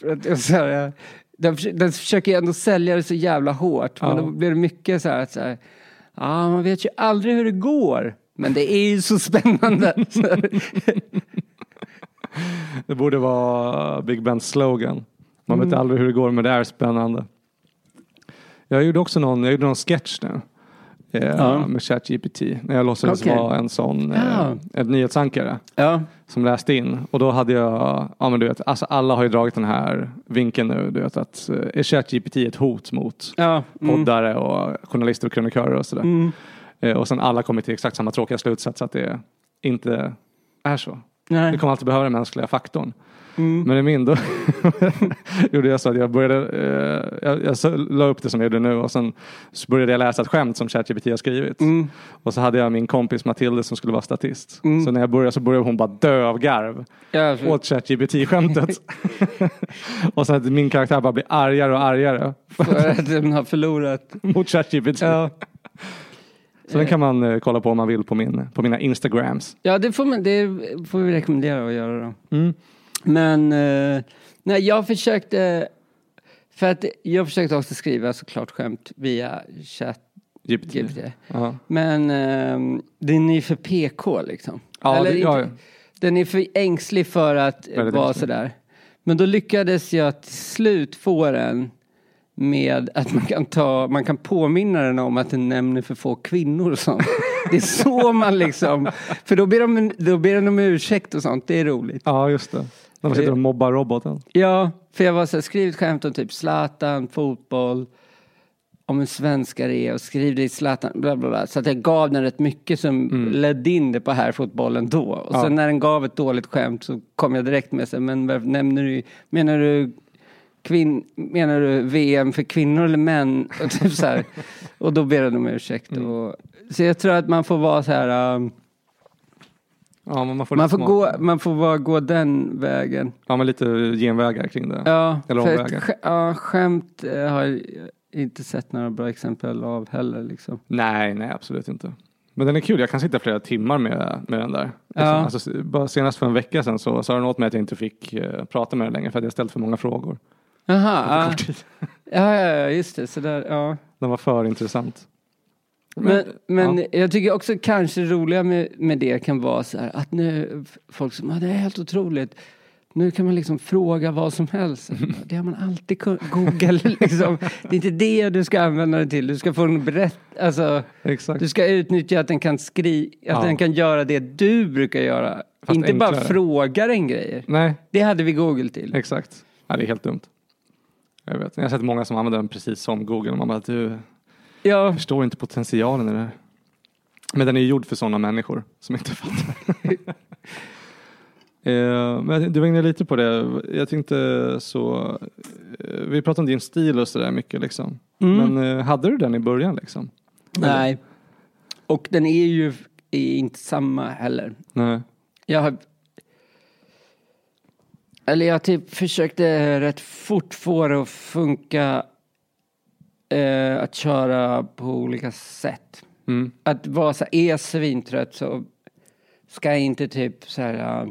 S2: För att, det var så här, eh, den, försö- den försöker ändå sälja det så jävla hårt. Men
S1: Ja.
S2: då blir det mycket så här att så här, ja, man vet ju aldrig hur det går. Men det är ju så spännande. Så här,
S1: Det borde vara Big Bands slogan. Man
S2: Mm.
S1: vet aldrig hur det går men det är spännande. Jag gjorde också någon, jag gjorde någon sketch nu. Eh,
S2: Ja.
S1: Med ChatGPT. När jag låtsades
S2: Okej. Ah.
S1: vara en sån,
S2: Ja.
S1: eh, ett nyhetsankare.
S2: ja,
S1: Som läste in. Och då hade jag, ja men du vet, alltså alla har ju dragit den här vinkeln nu. Du vet att eh, är ChatGPT ett hot mot
S2: ja. Mm.
S1: poddare och journalister och krönikörer och sådär. Eh, och sen alla kommer till exakt samma tråkiga slutsats att det inte är så. Vi
S2: Nej.
S1: kommer alltid behöva den mänskliga faktorn. Men i min då gjorde jag så att jag började, eh, jag, jag så- la upp det som jag gjorde nu och sen så började jag läsa ett skämt som ChatGPT har skrivit. Och så hade jag min kompis Matilde som skulle vara statist. Så när jag började så började hon bara dö av garv
S2: Ja,
S1: åt ChatGPT-skämtet. och så att min karaktär bara blir argare och argare
S2: för att den har förlorat.
S1: mot ChatGPT.
S2: Ja.
S1: Så den kan man eh, kolla på om man vill på, min, på mina Instagrams.
S2: Ja, det får, man, det får vi rekommendera att göra då. Men eh, nej, jag försökte... För att jag försökte också skriva såklart skämt via ChatGPT.
S1: GPT. Ja.
S2: Men eh, den är ju för PK liksom.
S1: Ja, det-
S2: inte-
S1: ja, ja.
S2: Den är för ängslig för att eh,
S1: Väldigt
S2: vara
S1: ängslig.
S2: sådär. Men då lyckades jag till slut få den med att man kan, ta, man kan påminna den om att den nämner för få kvinnor och sånt. Det är så man liksom... För då ber, de, då ber den om ursäkt och sånt, det är roligt.
S1: ja, just det. När man sitter och mobbar roboten.
S2: Ja, för jag var så här, skriv ett skämt om typ Zlatan, fotboll, om en svenskare är och skriv det i Zlatan, bla bla bla. Så att jag gav den rätt mycket som ledde in det på här fotbollen då. Och sen när den gav ett dåligt skämt så kom jag direkt med sig, men varför nämner du, menar du Kvinn, menar du VM för kvinnor eller män? Och, typ så här. och då ber den om ursäkt. Och, så jag tror att man får vara så här... um,
S1: Ja, Ja, men man får,
S2: Man
S1: lite
S2: får,
S1: smak.
S2: gå, man får bara gå den vägen.
S1: Ja, men lite genvägar kring det.
S2: Ja,
S1: Eller
S2: för ett
S1: omvägar.
S2: sk- ja, skämt eh, har jag inte sett några bra exempel av heller. Liksom.
S1: Nej, nej absolut inte. Men den är kul, jag kan sitta flera timmar med, med den där.
S2: Ja.
S1: Alltså, s- bara senast för en vecka sedan så sa den åt mig att jag inte fick eh, prata med den längre för att jag ställt för många frågor.
S2: Jaha,
S1: på
S2: ja.
S1: kort tid.
S2: ja, ja, ja, just det. Sådär, ja.
S1: Den var för intressant.
S2: Men, men
S1: ja.
S2: jag tycker också kanske det roliga med, med det kan vara så här att nu folk som, ah, det är helt otroligt. Nu kan man liksom fråga vad som helst. Det har man alltid kunnat. Google liksom. Det är inte det du ska använda det till. Du ska få en berätt... Alltså,
S1: Exakt.
S2: du ska utnyttja att den kan skri... Att
S1: Ja.
S2: den kan göra det du brukar göra.
S1: Fast
S2: inte bara
S1: enklare.
S2: fråga den grejer.
S1: Nej,
S2: Det hade vi Google till.
S1: exakt. Ja, det är helt dumt. Jag vet. Jag har sett många som använder den precis som Google. Man bara, du
S2: Ja,
S1: förstår inte potentialen i det här. Men den är ju gjord för sådana människor som inte fattar. Eh, Men du var inne lite på det. Jag tänkte så. eh, Vi pratade om din stil och sådär mycket liksom.
S2: Mm.
S1: Men eh, hade du den i början liksom?
S2: nej. Och den är ju är inte samma heller.
S1: Nej.
S2: Jag har... Eller jag typ försökte rätt fort få det att funka eh, att köra på olika sätt.
S1: Mm.
S2: Att vara så här, är jag svintrött så ska jag inte typ så här, eh,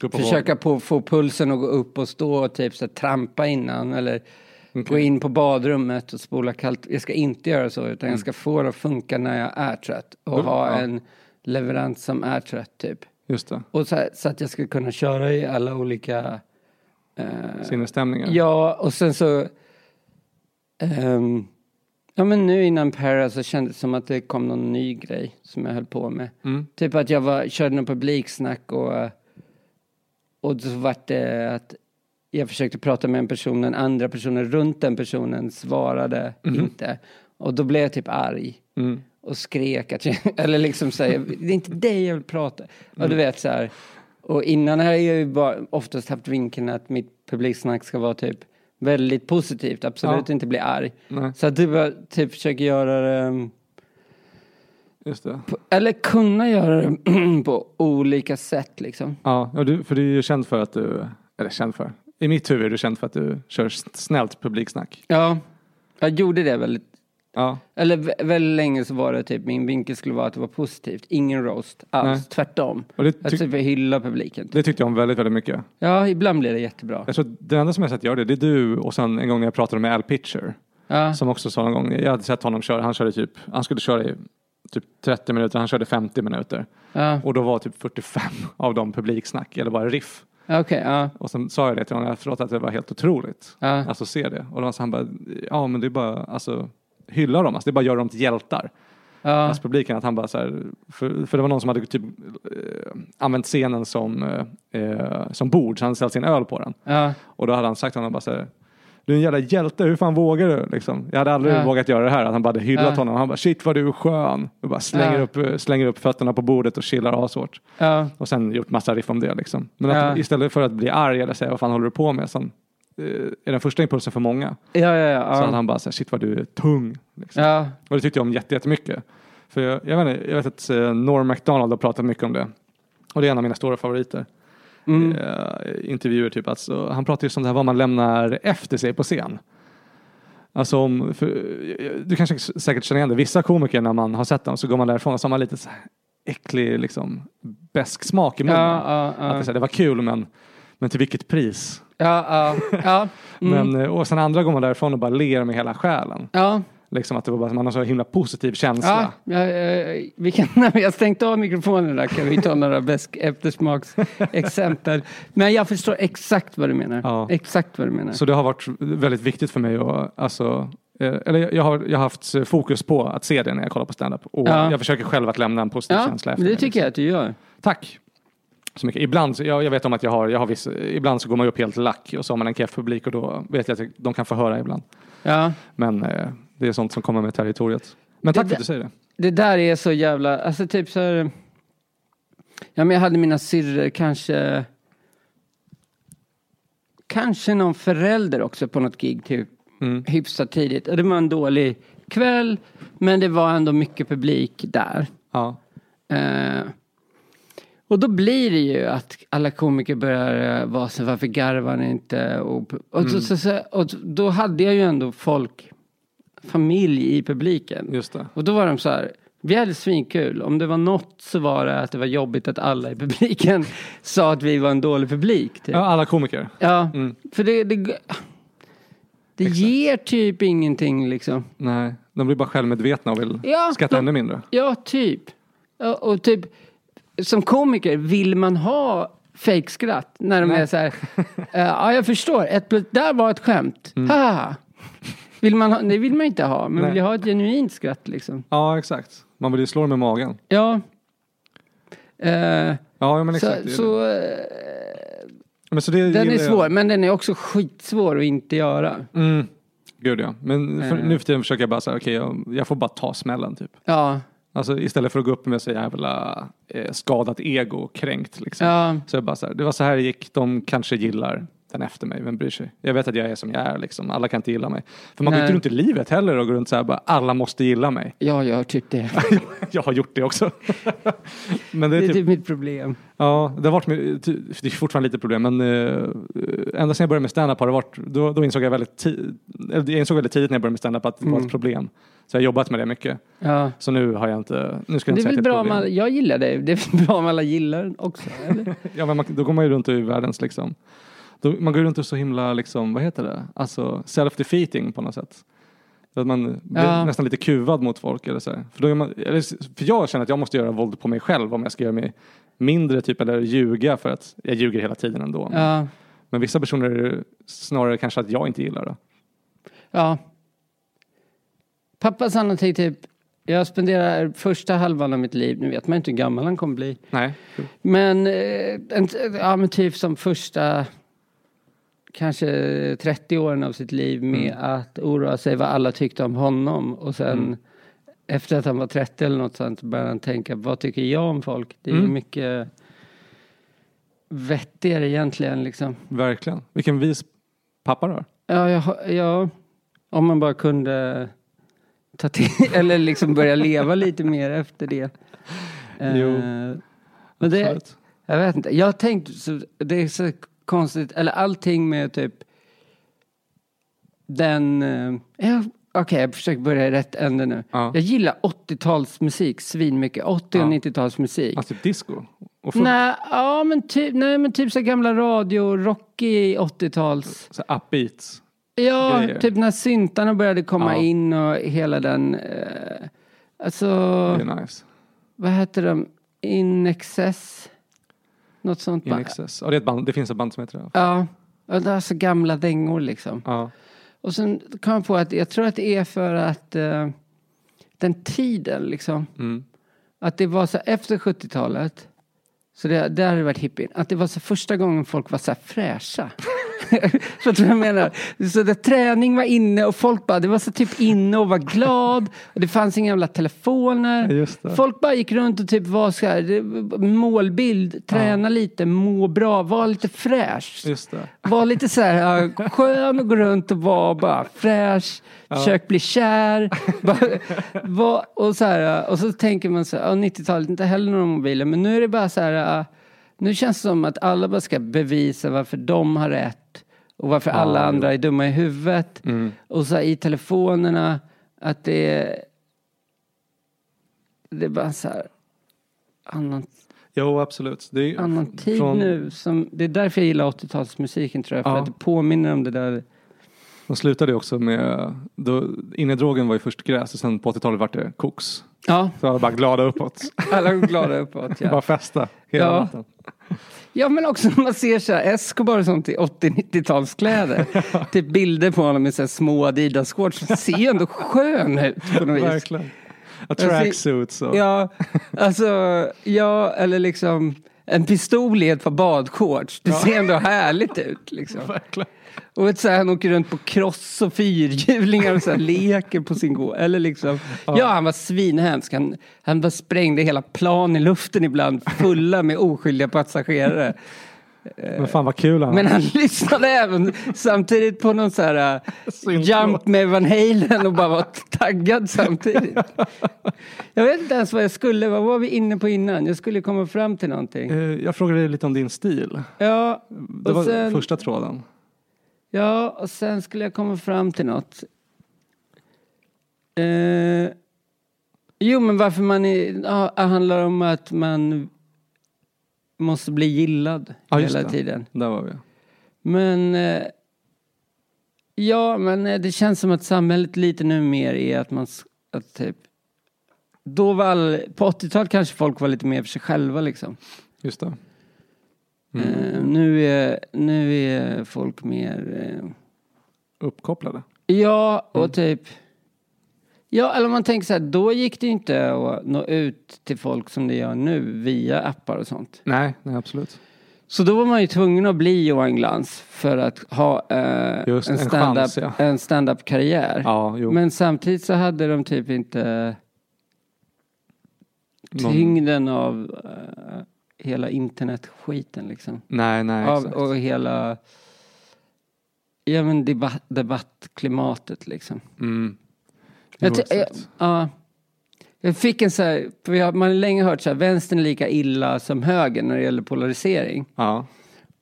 S1: Gå på
S2: försöka på, få pulsen att gå upp och stå och typ så här, trampa innan eller
S1: vågen.
S2: gå in på badrummet och spola kallt. Jag ska inte göra så utan jag ska få det att funka när jag är trött och
S1: Mm,
S2: ha
S1: ja.
S2: en leverans som är trött typ.
S1: Just det.
S2: Och så, här, så att jag ska kunna köra i alla olika... eh,
S1: Sinnesstämningar.
S2: ja, och sen så... ehm, ja, men nu innan Para så kändes det som att det kom någon ny grej som jag höll på med.
S1: Mm.
S2: Typ att jag var, körde någon publiksnack och... eh, Och så vart det att jag försökte prata med en person, den andra personen runt den personen svarade inte. Och då blev jag typ arg
S1: Mm.
S2: och skrek att jag, eller liksom säga, det är inte dig jag vill prata. Och du vet så här. Och innan har jag ju bara oftast haft vinkeln att mitt publiksnack ska vara typ väldigt positivt, absolut
S1: Ja.
S2: inte bli arg.
S1: Nej,
S2: Så att du bara typ försöker göra det, um,
S1: just det.
S2: på, eller kunna göra det på olika sätt liksom.
S1: Ja, ja, du, för du är ju känd för att du, eller känd för, i mitt huvud är du känd för att du kör s- snällt publiksnack.
S2: Ja, jag gjorde det väldigt,
S1: Ja,
S2: eller vä- väldigt länge så var det typ, min vinkel skulle vara att det var positivt, ingen roast alls,
S1: Nej.
S2: tvärtom.
S1: och det,
S2: Att
S1: tyck,
S2: typ hylla publiken.
S1: det tyckte jag om väldigt, väldigt mycket.
S2: Ja, ibland blir det jättebra.
S1: Jag tror att det enda som jag sett gör det, det är du och sen en gång när jag pratade med Al Pitcher
S2: Ja.
S1: som också sa någon gång, jag hade sett honom köra, han körde typ, han skulle köra i typ 30 minuter, han körde 50 minuter
S2: Ja,
S1: och då var typ 45 av dem publiksnack eller bara riff.
S2: okej, ja.
S1: Och sen sa jag det till honom, jag förlåt att det var helt otroligt.
S2: ja.
S1: Alltså se det. Och då sa han bara, ja men det är bara, alltså hylla dem, alltså, det är bara att göra dem till hjältar.
S2: ja.
S1: alltså publiken att han bara så här, för, för det var någon som hade typ eh, använt scenen som, eh, eh, som bord så han ställt sin öl på den.
S2: ja.
S1: Och då hade han sagt till honom bara så här, du är en jävla hjälte, hur fan vågar du? Liksom. Jag hade aldrig
S2: Ja.
S1: vågat göra det här. Att han bara hade hyllat
S2: Ja.
S1: honom. Han bara, shit vad du är skön. Och bara slänger,
S2: Ja.
S1: upp, eh, slänger upp fötterna på bordet och chillar ashårt.
S2: ja.
S1: Och sen gjort massa riff om det liksom. Men
S2: Ja.
S1: att, istället för att bli arg eller säga vad fan håller du på med? Sen, eh, är den första impulsen för många.
S2: ja, ja,
S1: Så hade
S2: ja.
S1: han bara så här, shit vad du är tung. Liksom.
S2: ja.
S1: Och det tyckte jag om jätte- jättemycket. För jag, jag, vet, inte, jag vet att eh, Norm MacDonald har pratat mycket om det. Och det är en av mina stora favoriter.
S2: Mm.
S1: Eh, intervjuer typ. Alltså, han pratar just om det här vad man lämnar efter sig på scen. Alltså om, för, eh, du kanske s- säkert känner igen det. Vissa komiker när man har sett dem så går man därifrån och så har man lite så här äcklig liksom besk smak i
S2: Ja,
S1: munnen.
S2: ja,
S1: Att det, är
S2: ja.
S1: så här, det var kul men, men till vilket pris?
S2: Ja, ja, ja. Mm.
S1: Men, eh, och sen andra går man därifrån och bara ler med hela själen.
S2: Ja,
S1: Liksom att det var bara, man har så himla positiv känsla.
S2: ja, ja, ja, vi kan, när vi har stängt av mikrofonen där kan vi ta några bäsk eftersmaksexempel. Men jag förstår exakt vad du menar.
S1: Ja.
S2: Exakt vad du menar.
S1: Så det har varit väldigt viktigt för mig att, alltså, eh, eller jag- jag har, jag har haft fokus på att se det när jag kollar på standup. Och
S2: Ja.
S1: jag försöker själv att lämna en positiv
S2: ja,
S1: känsla efter
S2: det
S1: mig,
S2: tycker jag att du gör.
S1: Tack! Så mycket. Ibland, så- jag, jag vet om att jag har, jag har viss, ibland så går man ju upp helt lack och så har man en keff publik och då vet jag att de kan få höra ibland.
S2: Ja.
S1: Men eh, det är sånt som kommer med territoriet. Men tack
S2: Det
S1: för att du säger det.
S2: Det där är så jävla, alltså typ så här. Ja men jag hade mina syrror kanske. Kanske någon förälder också på något gig typ.
S1: Mm.
S2: Hyfsat tidigt. Och Det var en dålig kväll. Men det var ändå mycket publik där.
S1: Ja.
S2: Eh, Och då blir det ju att alla komiker börjar eh, vara så varför garvar ni inte? Och, och, så, så, så, och då hade jag ju ändå folk, familj i publiken.
S1: Just det.
S2: Och då var de så här, vi hade svinkul. Om det var något så var det att det var jobbigt att alla i publiken sa att vi var en dålig publik. Typ.
S1: Ja,
S2: Ja,
S1: alla komiker.
S2: för det, det, det ger typ ingenting liksom.
S1: Nej, de blir bara självmedvetna och vill
S2: Ja,
S1: skratta
S2: de-
S1: ännu mindre.
S2: Ja, typ. Ja, och typ, som komiker, vill man ha fejkskratt när de
S1: Nej.
S2: är så här, eh, ja jag förstår, ett plus, där var ett skämt, haha. Vill man ha, det vill man inte ha, men
S1: Mm. Nej.
S2: vill jag ha ett genuint skratt liksom.
S1: Ja, exakt. Man vill ju slå dem i magen.
S2: Ja. Eh,
S1: Ja, ja, men
S2: så,
S1: exakt. det är
S2: så eh,
S1: det. men så det
S2: den
S1: gillar
S2: är
S1: jag.
S2: svår, men den är också skitsvår att inte göra.
S1: Mm. Gud ja. Men för,
S2: Eh.
S1: nu för tiden försöker jag bara säga, okej, jag, jag får bara ta smällen typ.
S2: Ja,
S1: Alltså istället för att gå upp med så jävla eh, skadat ego och kränkt liksom.
S2: ja,
S1: Så jag bara så här, det var så här det gick, de kanske gillar den efter mig, vem bryr sig? Jag vet att jag är som jag är liksom, alla kan inte gilla mig. För man går
S2: Nej.
S1: inte runt i livet heller och går runt så här bara, alla måste gilla mig.
S2: jag gör typ det.
S1: jag har gjort det också. Men det är
S2: Det är
S1: typ,
S2: typ mitt problem.
S1: ja, det har varit, med- ty- det är fortfarande lite problem, men eh, ända sedan jag började med standup har det varit, då, då insåg jag väldigt, ti- eller jag insåg väldigt tidigt när jag började med standup att det
S2: Mm.
S1: var ett problem. Så jag har jobbat med det mycket.
S2: Ja.
S1: Så nu har jag inte, nu ska jag inte
S2: Det är
S1: säga
S2: väl
S1: att det är
S2: bra
S1: ett
S2: om
S1: problem.
S2: alla, jag gillar det, det är väl bra om alla gillar den också, eller?
S1: Ja, men man, då går man ju runt i världens liksom. Då, man går runt och så himla, liksom, vad heter det, alltså self-defeating på något sätt. Så Att man blir
S2: Ja.
S1: nästan lite kuvad mot folk. Eller så här. För, då är man, eller, s- för jag känner att jag måste göra våld på mig själv om jag ska göra mig mindre typ eller ljuga för att jag ljuger hela tiden ändå. Men,
S2: Ja,
S1: men vissa personer är det snarare kanske att jag inte gillar det.
S2: ja. Pappa sa någonting typ, jag spenderar första halvan av mitt liv, nu vet man inte hur gammal han kommer bli.
S1: Nej.
S2: Men, eh, en, ja, men typ som första kanske 30 åren av sitt liv med att oroa sig vad alla tyckte om honom och sen efter att han var 30 eller något sånt började han tänka vad tycker jag om folk? Det är ju
S1: Mm.
S2: mycket vettigare egentligen liksom.
S1: Verkligen. Vilken vis pappa du har.
S2: Ja, jag, har- ja, om man bara kunde ta till, eller liksom börja leva lite mer efter det. Eh,
S1: Jo,
S2: men det,
S1: Absolut.
S2: jag vet inte, jag har tänkt, så, det är så konstigt, eller allting med typ den, eh, ja, okej jag försöker börja i rätt ände nu.
S1: Ja.
S2: Jag gillar 80-talsmusik svinmycket, 80 och
S1: Ja.
S2: 90-talsmusik.
S1: Alltså typ disco. Och full,
S2: Nej, ja, men typ, nej, men typ så här gamla radio, rockig 80-tals.
S1: så här, upbeats.
S2: Ja,
S1: grejer.
S2: typ när syntarna började komma
S1: Ja.
S2: in och hela den... Eh, alltså,
S1: Det är nice.
S2: vad heter de? In excess? Något sånt.
S1: In
S2: ba-
S1: excess. Ja, det, är ett band, det finns ett band som heter det.
S2: Ja, och det är så gamla dängor liksom.
S1: Ja.
S2: Och sen kom jag på att jag tror att det är för att eh, den tiden liksom.
S1: Mm.
S2: Att det var så efter 70-talet. Så det, där har det varit hippie. Att det var så första gången folk var så här fräscha. Förstår du vad jag menar? Så där träning var inne och folk bara, det var så typ inne och var glad. Och det fanns inga jävla telefoner.
S1: Just det.
S2: Folk bara gick runt och typ var så här, det- målbild, träna lite, må bra, var lite fräsch.
S1: Just det.
S2: Var lite så här äh, skön och gå runt och vara bara fräsch. Försök bli kär. Bara, var, och, så här, äh, och så tänker man så här, "Ja, 90-talet, inte heller några mobiler. Men nu är det bara så här, äh, nu känns det som att alla bara ska bevisa varför de har rätt. Och varför alla andra är dumma i huvudet. Och så här, i telefonerna, att det är... Det är bara så här, annan
S1: Jo, absolut. Det är
S2: annan tid
S1: från,
S2: nu. Som, det är därför jag gillar 80-talsmusiken tror jag. För
S1: Ja.
S2: att det påminner om det där.
S1: De slutade ju också med, då, innedrogen var ju först gräs och sen på 80-talet vart det koks.
S2: Ja,
S1: Så alla bara glada uppåt.
S2: alla går glada uppåt.
S1: Bara
S2: Ja.
S1: festa hela
S2: Ja.
S1: natten.
S2: ja, men också när man ser så här Escobar och sånt i 80-90-talskläder. typ bilder på honom i så här små Adidas-shorts. Han ser ju ändå skön ut på något vis.
S1: Verkligen. A tracksuits och...
S2: Ja, alltså, ja, eller liksom en pistol i ett par badshorts. Det ser ändå härligt ut liksom.
S1: Verkligen.
S2: Och vet, så här, han åker runt på kross och fyrhjulingar och så här, leker på sin gård. Eller liksom. Ja, han var svinhemsk. Han, han bara sprängde hela plan i luften ibland, fulla med oskyldiga passagerare.
S1: Men fan vad kul han
S2: Men han lyssnade även samtidigt på någon så här eh,
S1: Synt-
S2: Jump med Van Halen och bara var taggad samtidigt. Jag vet inte ens vad jag skulle, vad var vi inne på innan? Jag skulle komma fram till någonting.
S1: Eh, Jag frågade dig lite om din stil.
S2: Ja,
S1: Det
S2: Och
S1: var
S2: sen-
S1: första tråden.
S2: ja och sen skulle jag komma fram till något. Eh, jo, men varför man är, ja, det handlar om att man måste bli gillad
S1: Ja, just
S2: hela
S1: det.
S2: tiden.
S1: Där var vi.
S2: Men... eh, Ja, men eh, det känns som att samhället lite nu mer är att man... s- Att typ, då var all, på 80-talet kanske folk var lite mer för sig själva liksom.
S1: Just det. Mm.
S2: Eh, nu, är, nu är folk mer... eh,
S1: Uppkopplade.
S2: Ja,
S1: Mm.
S2: och typ... Ja, eller om man tänker så här, då gick det ju inte att nå ut till folk som det gör nu via appar och sånt.
S1: Nej, nej absolut.
S2: Så då var man ju tvungen att bli Johan Glans för att ha eh, en
S1: Just, en
S2: stand-up-
S1: chans, ja.
S2: en stand-up-karriär.
S1: Ja, jo.
S2: Men samtidigt så hade de typ inte
S1: Någon-
S2: tyngden av eh, hela internetskiten liksom.
S1: Nej, nej,
S2: Av,
S1: exakt.
S2: och hela ja, men debatt, debattklimatet liksom.
S1: Mm.
S2: Jag,
S1: Jo,
S2: ty- jag,
S1: exakt.
S2: ja. jag fick en så här, för vi har, man har länge hört så här, vänstern är lika illa som högern när det gäller polarisering.
S1: Ja,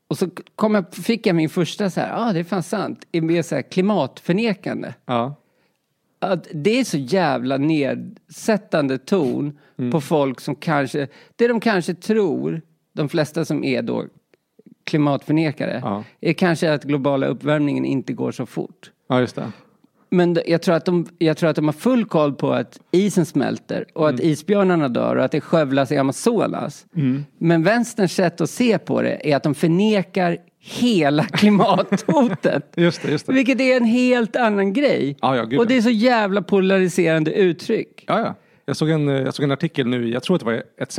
S2: Och så kom jag, fick jag min första så här, ja ah, det är fan sant, är mer så här klimatförnekande.
S1: ja.
S2: att det är så jävla nedsättande ton på folk som kanske, det de kanske tror, de flesta som är då klimatförnekare,
S1: Ja.
S2: är kanske att globala uppvärmningen inte går så fort.
S1: ja, just det.
S2: Men d- jag tror, att de, jag tror att de har full koll på att isen smälter och
S1: Mm.
S2: att isbjörnarna dör och att det skövlas i Amazonas. Men vänsterns sätt att se på det är att de förnekar hela klimathotet.
S1: Just det, just det.
S2: Vilket är en helt annan grej.
S1: Ja, ja, gud,
S2: och det
S1: ja.
S2: är så jävla polariserande uttryck.
S1: Ja, ja. Jag såg, en, eh, jag såg en artikel nu, i- jag tror att det var ETC.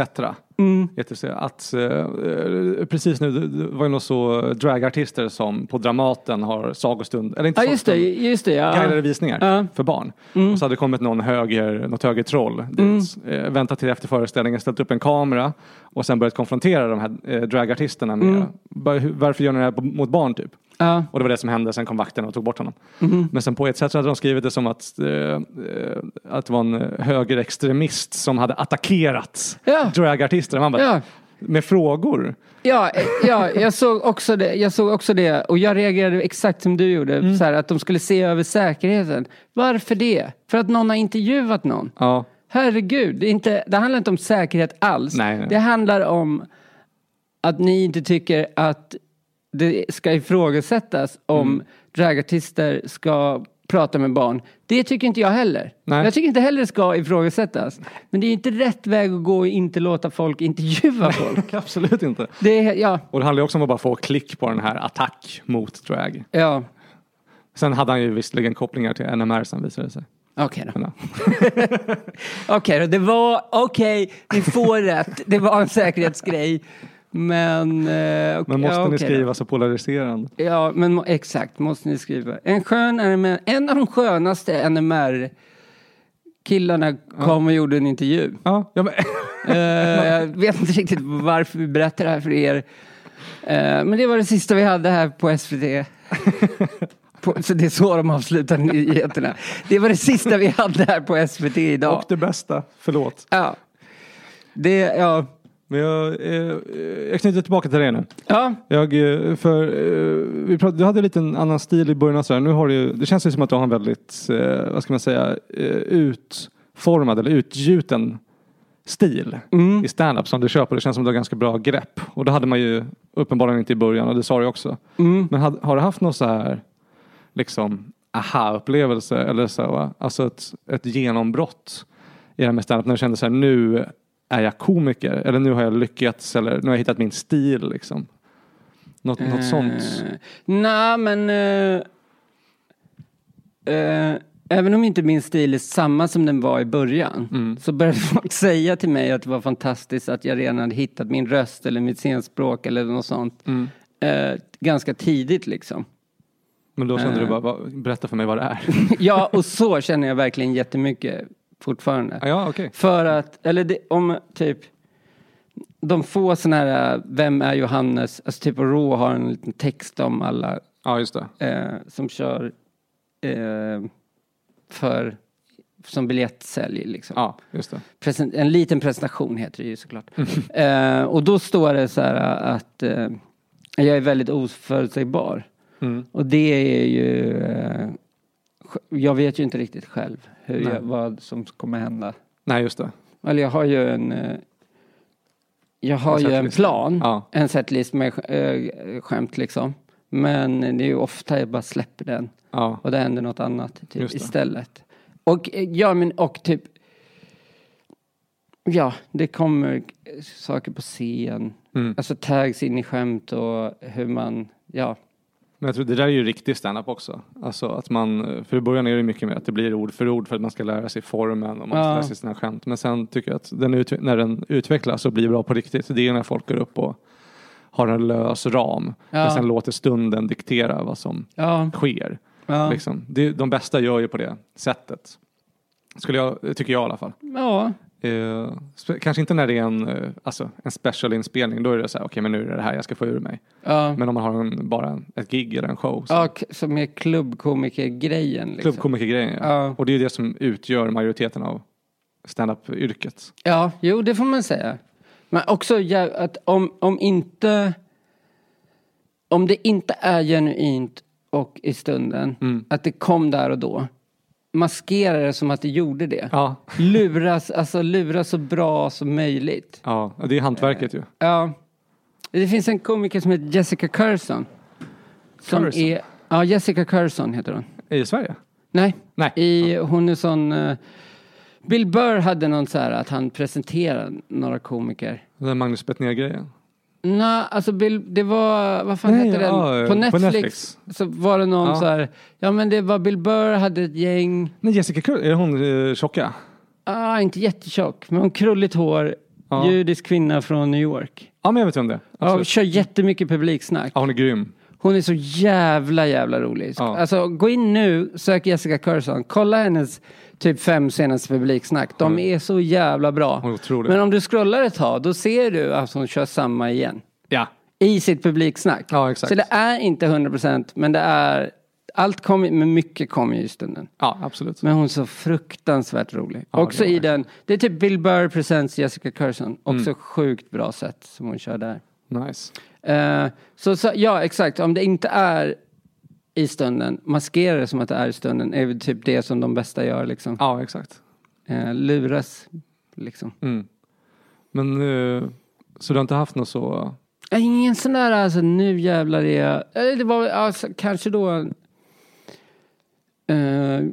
S2: Mm.
S1: ETC att eh, eh, precis nu, det- det var ju något så eh, dragartister som på Dramaten har sagostund, eller inte
S2: Ja, just det.
S1: sagostund,
S2: Just det ja.
S1: guidade visningar
S2: Ja. Mm.
S1: för barn. Och så hade det kommit någon höger, något högertroll dit, eh, väntat till efter föreställningen, ställt upp en kamera och sen börjat konfrontera de här eh, dragartisterna med
S2: Mm.
S1: "Bara, hur- varför gör ni det här på- mot barn typ?
S2: ja.
S1: Och det var det som hände, sen kom vakterna och tog bort honom.
S2: Mm-hmm.
S1: Men sen på ett sätt så hade de skrivit det som att, eh, eh, att det var en eh, högerextremist som hade attackerat
S2: Ja.
S1: dragartister. Man bara,
S2: Ja.
S1: med frågor.
S2: Ja, eh, ja, jag såg också det. Jag såg också det och jag reagerade exakt som du gjorde.
S1: Mm.
S2: Så här, att de skulle se över säkerheten. Varför det? För att någon har intervjuat någon.
S1: Ja,
S2: Herregud, det, är inte, det handlar inte om säkerhet alls.
S1: Nej, nej.
S2: Det handlar om att ni inte tycker att det ska ifrågasättas om
S1: Mm.
S2: dragartister ska prata med barn. Det tycker inte jag heller.
S1: Nej.
S2: Jag tycker inte heller det ska ifrågasättas. Men det är inte rätt väg att gå och inte låta folk intervjua folk.
S1: absolut inte.
S2: Det är, ja,
S1: Och det handlar ju också om att bara få klick på den här attack mot drag.
S2: ja.
S1: Sen hade han ju visserligen kopplingar till NMR sen visade det sig.
S2: Okej då.
S1: Men, ja.
S2: Okej då, det var, okej, ni får rätt. Det var en säkerhetsgrej. Men, eh, okej-
S1: Men måste
S2: ja,
S1: ni
S2: okej då.
S1: skriva så polariserande?
S2: Ja, men må- exakt, måste ni skriva. En, skön NMR, en av de skönaste NMR-killarna kom och gjorde en intervju.
S1: Ja, ja men,
S2: Eh, jag vet inte riktigt varför vi berättar det här för er. Eh, men det var det sista vi hade här på SVT. På, så det är så de avslutar nyheterna. Det var det sista vi hade här på SVT idag.
S1: och det bästa, förlåt.
S2: Ja. Det, ja.
S1: Men jag, eh, eh, jag knyter tillbaka till det nu.
S2: Ja,
S1: Jag, eh, för, eh, vi prat, du hade lite en annan stil i början. och Så här. Nu har du, ju- det känns ju som att du har en väldigt, eh, vad ska man säga, eh, utformad eller utgjuten stil i standup som du köper. Det känns som att du har ganska bra grepp. Och det hade man ju uppenbarligen inte i början och det sa du också. Men had, har du haft någon så här liksom aha-upplevelse eller så? Va? Alltså ett, ett genombrott i det här med standup när du kände så här nu är jag komiker eller nu har jag lyckats eller nu har jag hittat min stil liksom. Något, något sånt.
S2: Eh, Nej, men... eh, eh, även om inte min stil är samma som den var i början så började folk säga till mig att det var fantastiskt att jag redan hade hittat min röst eller mitt scenspråk eller något sånt. Eh, ganska tidigt liksom.
S1: Men då kände du bara, "Va- berätta för mig vad det är.
S2: ja, och så känner jag verkligen jättemycket fortfarande.
S1: ja, okej.
S2: För att, eller det, om typ de få sådana här, eh, vem är Johannes, alltså typ Rå har en liten text om alla
S1: Ja, just det.
S2: eh, som kör eh, för, som biljettsälj liksom.
S1: Ja, just det.
S2: Presen- en liten presentation heter det ju såklart. Eh, och då står det så här att eh, jag är väldigt oförutsägbar.
S1: Mm.
S2: Och det är ju... Eh, sj- jag vet ju inte riktigt själv hur
S1: Nej.
S2: jag, vad som kommer hända.
S1: Nej, just det.
S2: Eller jag har ju en... Eh, jag har
S1: En
S2: ju en
S1: setlist.
S2: plan,
S1: Ja.
S2: en setlist med sk- eh, skämt liksom. Men det är ju ofta jag bara släpper den
S1: Ja,
S2: och det händer något annat typ,
S1: Just det.
S2: istället. Och, eh, ja, men, och typ... Ja, det kommer eh, saker på scen.
S1: Mm.
S2: Alltså tags in i skämt och hur man... Ja,
S1: men jag tror det där är ju riktig standup också. Alltså att man, för i början är det mycket mer att det blir ord för ord för att man ska lära sig formen och man ska
S2: Ja.
S1: lära sig sina skämt. Men sen tycker jag att den ut, när den utvecklas och blir bra på riktigt, det är när folk går upp och har en lös ram. Men
S2: Ja.
S1: sen låter stunden diktera vad som
S2: ja,
S1: sker.
S2: ja.
S1: Liksom. Det, de bästa gör ju på det sättet. Skulle jag, tycker jag i alla fall.
S2: ja.
S1: Eh, spe- kanske inte när det är en, eh, alltså, en specialinspelning, då är det så här, okej men nu är det det här jag ska få ur mig.
S2: Ja,
S1: Men om man har en, bara en, ett gig eller en show, så
S2: ja k- som är klubbkomikergrejen. Liksom.
S1: klubbkomikergrejen. ja.
S2: Ja.
S1: Och det är ju det som utgör majoriteten av standup-yrket.
S2: ja, jo det får man säga. Men också ja, att om, om inte... Om det inte är genuint och i stunden, att det kom där och då. Maskera det som att det gjorde det.
S1: Ja.
S2: Luras, alltså luras så bra som möjligt.
S1: ja, det är hantverket ju.
S2: Ja. Det finns en komiker som heter Jessica Curson. Som
S1: Curson?
S2: är... Ja, Jessica Curson heter hon.
S1: I Sverige?
S2: Nej.
S1: Nej.
S2: Eh, I, Hon är sån... eh, Bill Burr hade någon så här att han presenterade några komiker.
S1: Den där Magnus Betnér-grejen.
S2: Nej, alltså Bill, det var, vad fan
S1: Nej,
S2: hette den?
S1: ja,
S2: på,
S1: på
S2: Netflix,
S1: Netflix.
S2: så var det någon
S1: Ja.
S2: så här, ja men det var Bill Burr hade ett gäng,
S1: Nej, Jessica Kull, är det hon eh, tjocka?
S2: ah, inte jättetjock, men hon krulligt hår,
S1: Ja.
S2: judisk kvinna från New York.
S1: Ja, men jag vet vem det är.
S2: Ja,
S1: Absolut.
S2: kör jättemycket publiksnack.
S1: Ja, hon är grym.
S2: Hon är så jävla, jävla rolig.
S1: Ja.
S2: Alltså, gå in nu, sök Jessica Curson, kolla hennes typ fem senaste publiksnack. De är så jävla bra.
S1: Hon är otrolig.
S2: Men om du scrollar ett tag, då ser du att hon kör samma igen.
S1: Ja.
S2: I sitt publiksnack.
S1: Ja, exakt.
S2: Så det är inte 100% men det är... Allt kommer, men mycket kommer ju i stunden.
S1: Ja, absolut.
S2: Men hon är så fruktansvärt rolig.
S1: Ja,
S2: också
S1: det Mm. var det.
S2: i den, det är typ Bill Burr presents Jessica Curson. Också sjukt bra sätt som hon kör där.
S1: Nice.
S2: Eh, så, så, ja, exakt. Om det inte är i stunden, maskera det som att det är i stunden, är väl typ det som de bästa gör liksom.
S1: Ja, exakt.
S2: Eh, luras, liksom.
S1: Mm. Men eh, så du har inte haft något så...
S2: Eh, Ingen sån där, alltså nu jävlar är jag... Eller det var väl, alltså, kanske då... Eh,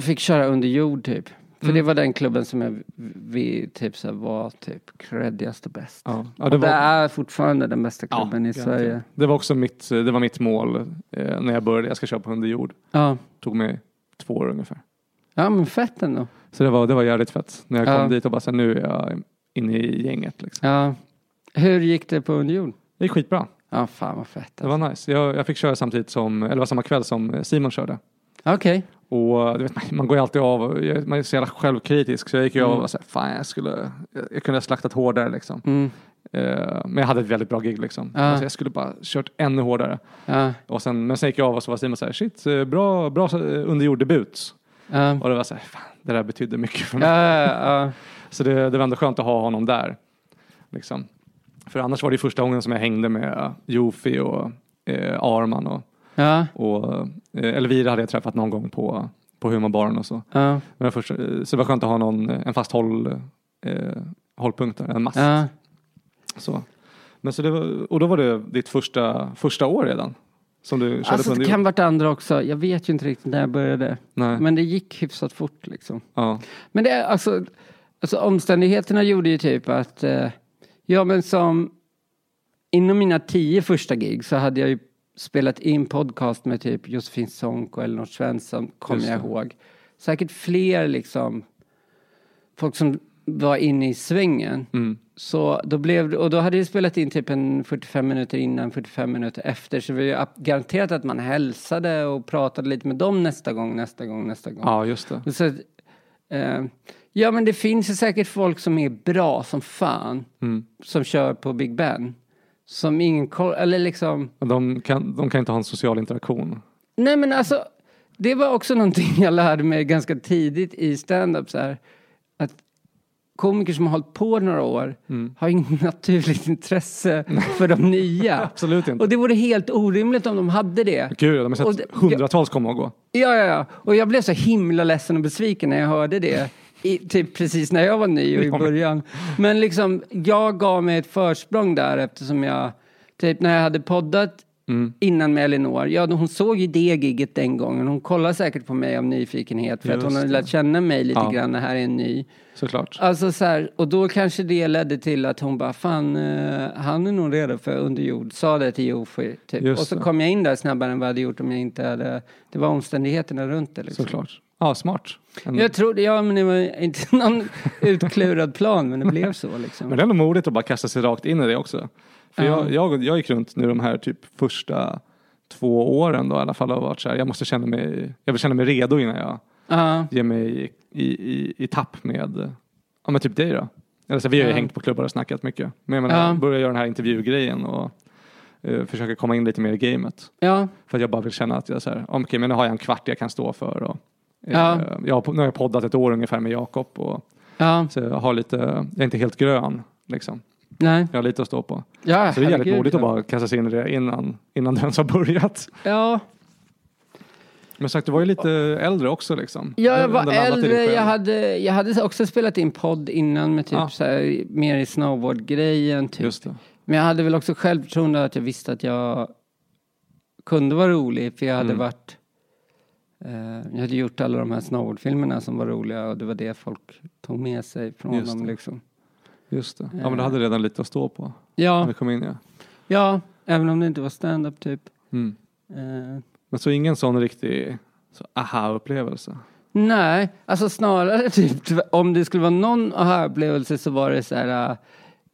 S2: fick köra under jord typ. För
S1: Mm.
S2: det var den klubben som jag vi, typ så här, var typ creddigast och bäst.
S1: Ja, ja
S2: det, är fortfarande den bästa
S1: Ja,
S2: klubben i
S1: garanterat.
S2: Sverige.
S1: Det var också mitt, det var mitt mål eh, när jag började. Jag ska köra på under jord.
S2: Ja.
S1: Tog mig två år ungefär.
S2: ja, men fett ändå.
S1: Så det var, det var jävligt fett. När jag kom
S2: Ja.
S1: dit och bara så här, nu är jag inne i gänget. Liksom.
S2: Ja. Hur gick det på under jord?
S1: Det gick skitbra.
S2: Ja, fan vad fett.
S1: Det
S2: Alltså.
S1: var nice. Jag, jag fick köra samtidigt som, eller det var samma kväll som Simon körde.
S2: alltså. Okej.
S1: Och eh, du vet, man- man går ju alltid av, och jag- man är så jävla självkritisk. Så jag gick ju av och
S2: Mm.
S1: var så här, fan jag skulle, jag, jag kunde ha slaktat hårdare liksom.
S2: Mm.
S1: Eh, men jag hade ett väldigt bra gig liksom.
S2: Ja.
S1: Alltså, jag skulle bara kört ännu hårdare.
S2: Ja.
S1: Och sen, men sen gick jag av och så var Simon så här, shit, eh, bra, bra eh, underjorddebut.
S2: Ja.
S1: Och det var så här, fan, det där betydde mycket för mig.
S2: Ja, ja,
S1: Så det, det var ändå skönt att ha honom där. Liksom. För annars var det ju första gången som jag hängde med eh, Jofi och eh, Arman och,
S2: ja.
S1: och eh, Elvira hade jag träffat någon gång på, på humorbaren och så. Men
S2: Ja.
S1: det var första, eh, så det var skönt att ha någon, eh, en fast håll, eh, hållpunkt, där, en mast.
S2: Ja.
S1: Så. Men så det var, och då var det ditt första, första år redan? Som du körde
S2: Alltså
S1: på
S2: det
S1: under
S2: kan
S1: jord?
S2: varit andra också. Jag vet ju inte riktigt när jag började.
S1: Nej.
S2: Men det gick hyfsat fort liksom.
S1: Ja.
S2: Men det är alltså, alltså omständigheterna gjorde ju typ att, eh, ja men som, inom mina tio första gig så hade jag ju spelat in podcast med typ Josefin Sonck och Elinor Svensson, kommer
S1: Just
S2: jag
S1: det.
S2: ihåg. Säkert fler liksom, folk som var inne i svängen.
S1: Mm.
S2: Så då blev det- och då hade jag spelat in typ en 45 minuter innan, 45 minuter efter. Så vi har ju ab- garanterat att man hälsade och pratade lite med dem nästa gång, nästa gång, nästa gång.
S1: ja, just det.
S2: Så, att, eh, Ja, men det finns ju säkert folk som är bra som fan. Som kör på Big Ben. Som ingen koll, eller liksom.
S1: Och De kan, de kan inte ha en social interaktion.
S2: Nej, men alltså. Det var också någonting jag lärde mig ganska tidigt i stand-up så här. Att komiker som har hållit på några år har inget naturligt intresse för de nya.
S1: Absolut inte.
S2: Och det vore helt orimligt om de hade det.
S1: Gud, de har
S2: Och
S1: sett
S2: det-
S1: hundratals komma och gå.
S2: Ja, ja, ja. Och jag blev så himla ledsen och besviken när jag hörde det. I, typ precis när jag var ny och i början. Men liksom, jag gav mig ett försprång där eftersom jag... Typ när jag hade poddat
S1: Mm.
S2: innan med Elinor. Ja, hon såg ju det gigget den gången. Hon kollade säkert på mig av nyfikenhet. För att hon
S1: Just
S2: hade
S1: det.
S2: lärt känna mig lite
S1: Ja.
S2: grann när här är en ny.
S1: Såklart.
S2: Alltså så här, och då kanske det ledde till att hon bara, fan, eh, han är nog redo för underjord. Sa det till Jofi, typ.
S1: Just
S2: och så
S1: det.
S2: kom jag in där snabbare än vad jag hade gjort om jag inte hade, det var omständigheterna runt det liksom.
S1: Såklart. Mm. Ja, smart. En,
S2: Jag trodde, ja men det var inte någon utklurad plan, men det blev så
S1: Men
S2: liksom.
S1: det är ändå modigt att bara kasta sig rakt in i det också. För jag, jag, jag gick runt nu de här typ första två åren då i alla fall och varit så här, jag måste känna mig, jag vill känna mig redo innan jag
S2: Ja,
S1: ger mig i, i, i, i tapp med, ja men typ dig då. Eller så, vi har ju
S2: Ja.
S1: hängt på klubbar och snackat mycket. Men jag menar,
S2: Ja.
S1: börja göra den här intervjugrejen och eh, försöka komma in lite mer i gamet.
S2: ja,
S1: För att jag bara vill känna att jag så här, okej men nu har jag en kvart jag kan stå för. Och, eh,
S2: Ja.
S1: jag har, nu har jag poddat ett år ungefär med Jakob och
S2: ja,
S1: så jag har eh, lite, jag är inte helt grön liksom.
S2: nej.
S1: Jag har lite att stå på.
S2: Ja,
S1: Så det är jävligt
S2: herregud,
S1: modigt att
S2: ja.
S1: bara kasta sig in i det innan, innan det ens har börjat.
S2: Ja,
S1: Men sagt, du var ju lite äldre också liksom.
S2: Ja,
S1: Du
S2: jag
S1: hade
S2: var
S1: landat i dig
S2: äldre.
S1: själv.
S2: Jag hade, jag hade också spelat in podd innan med typ
S1: Ja.
S2: så här, mer i snowboardgrejen. Typ.
S1: Just det.
S2: Men jag hade väl också självförtroende att jag visste att jag kunde vara rolig för jag
S1: Mm.
S2: hade varit... Eh, jag hade gjort alla de här snowboardfilmerna som var roliga och det var det folk tog med sig från
S1: Just
S2: dem
S1: det.
S2: liksom.
S1: Just det. Ja, men du hade redan lite att stå på när
S2: Eh. Ja,
S1: vi kom in ja.
S2: ja, även om det inte var stand-up typ.
S1: Mm.
S2: Eh,
S1: Men så ingen sån riktig så aha-upplevelse.
S2: Nej, alltså snarare typ tv- om det skulle vara någon aha-upplevelse så var det så här eh,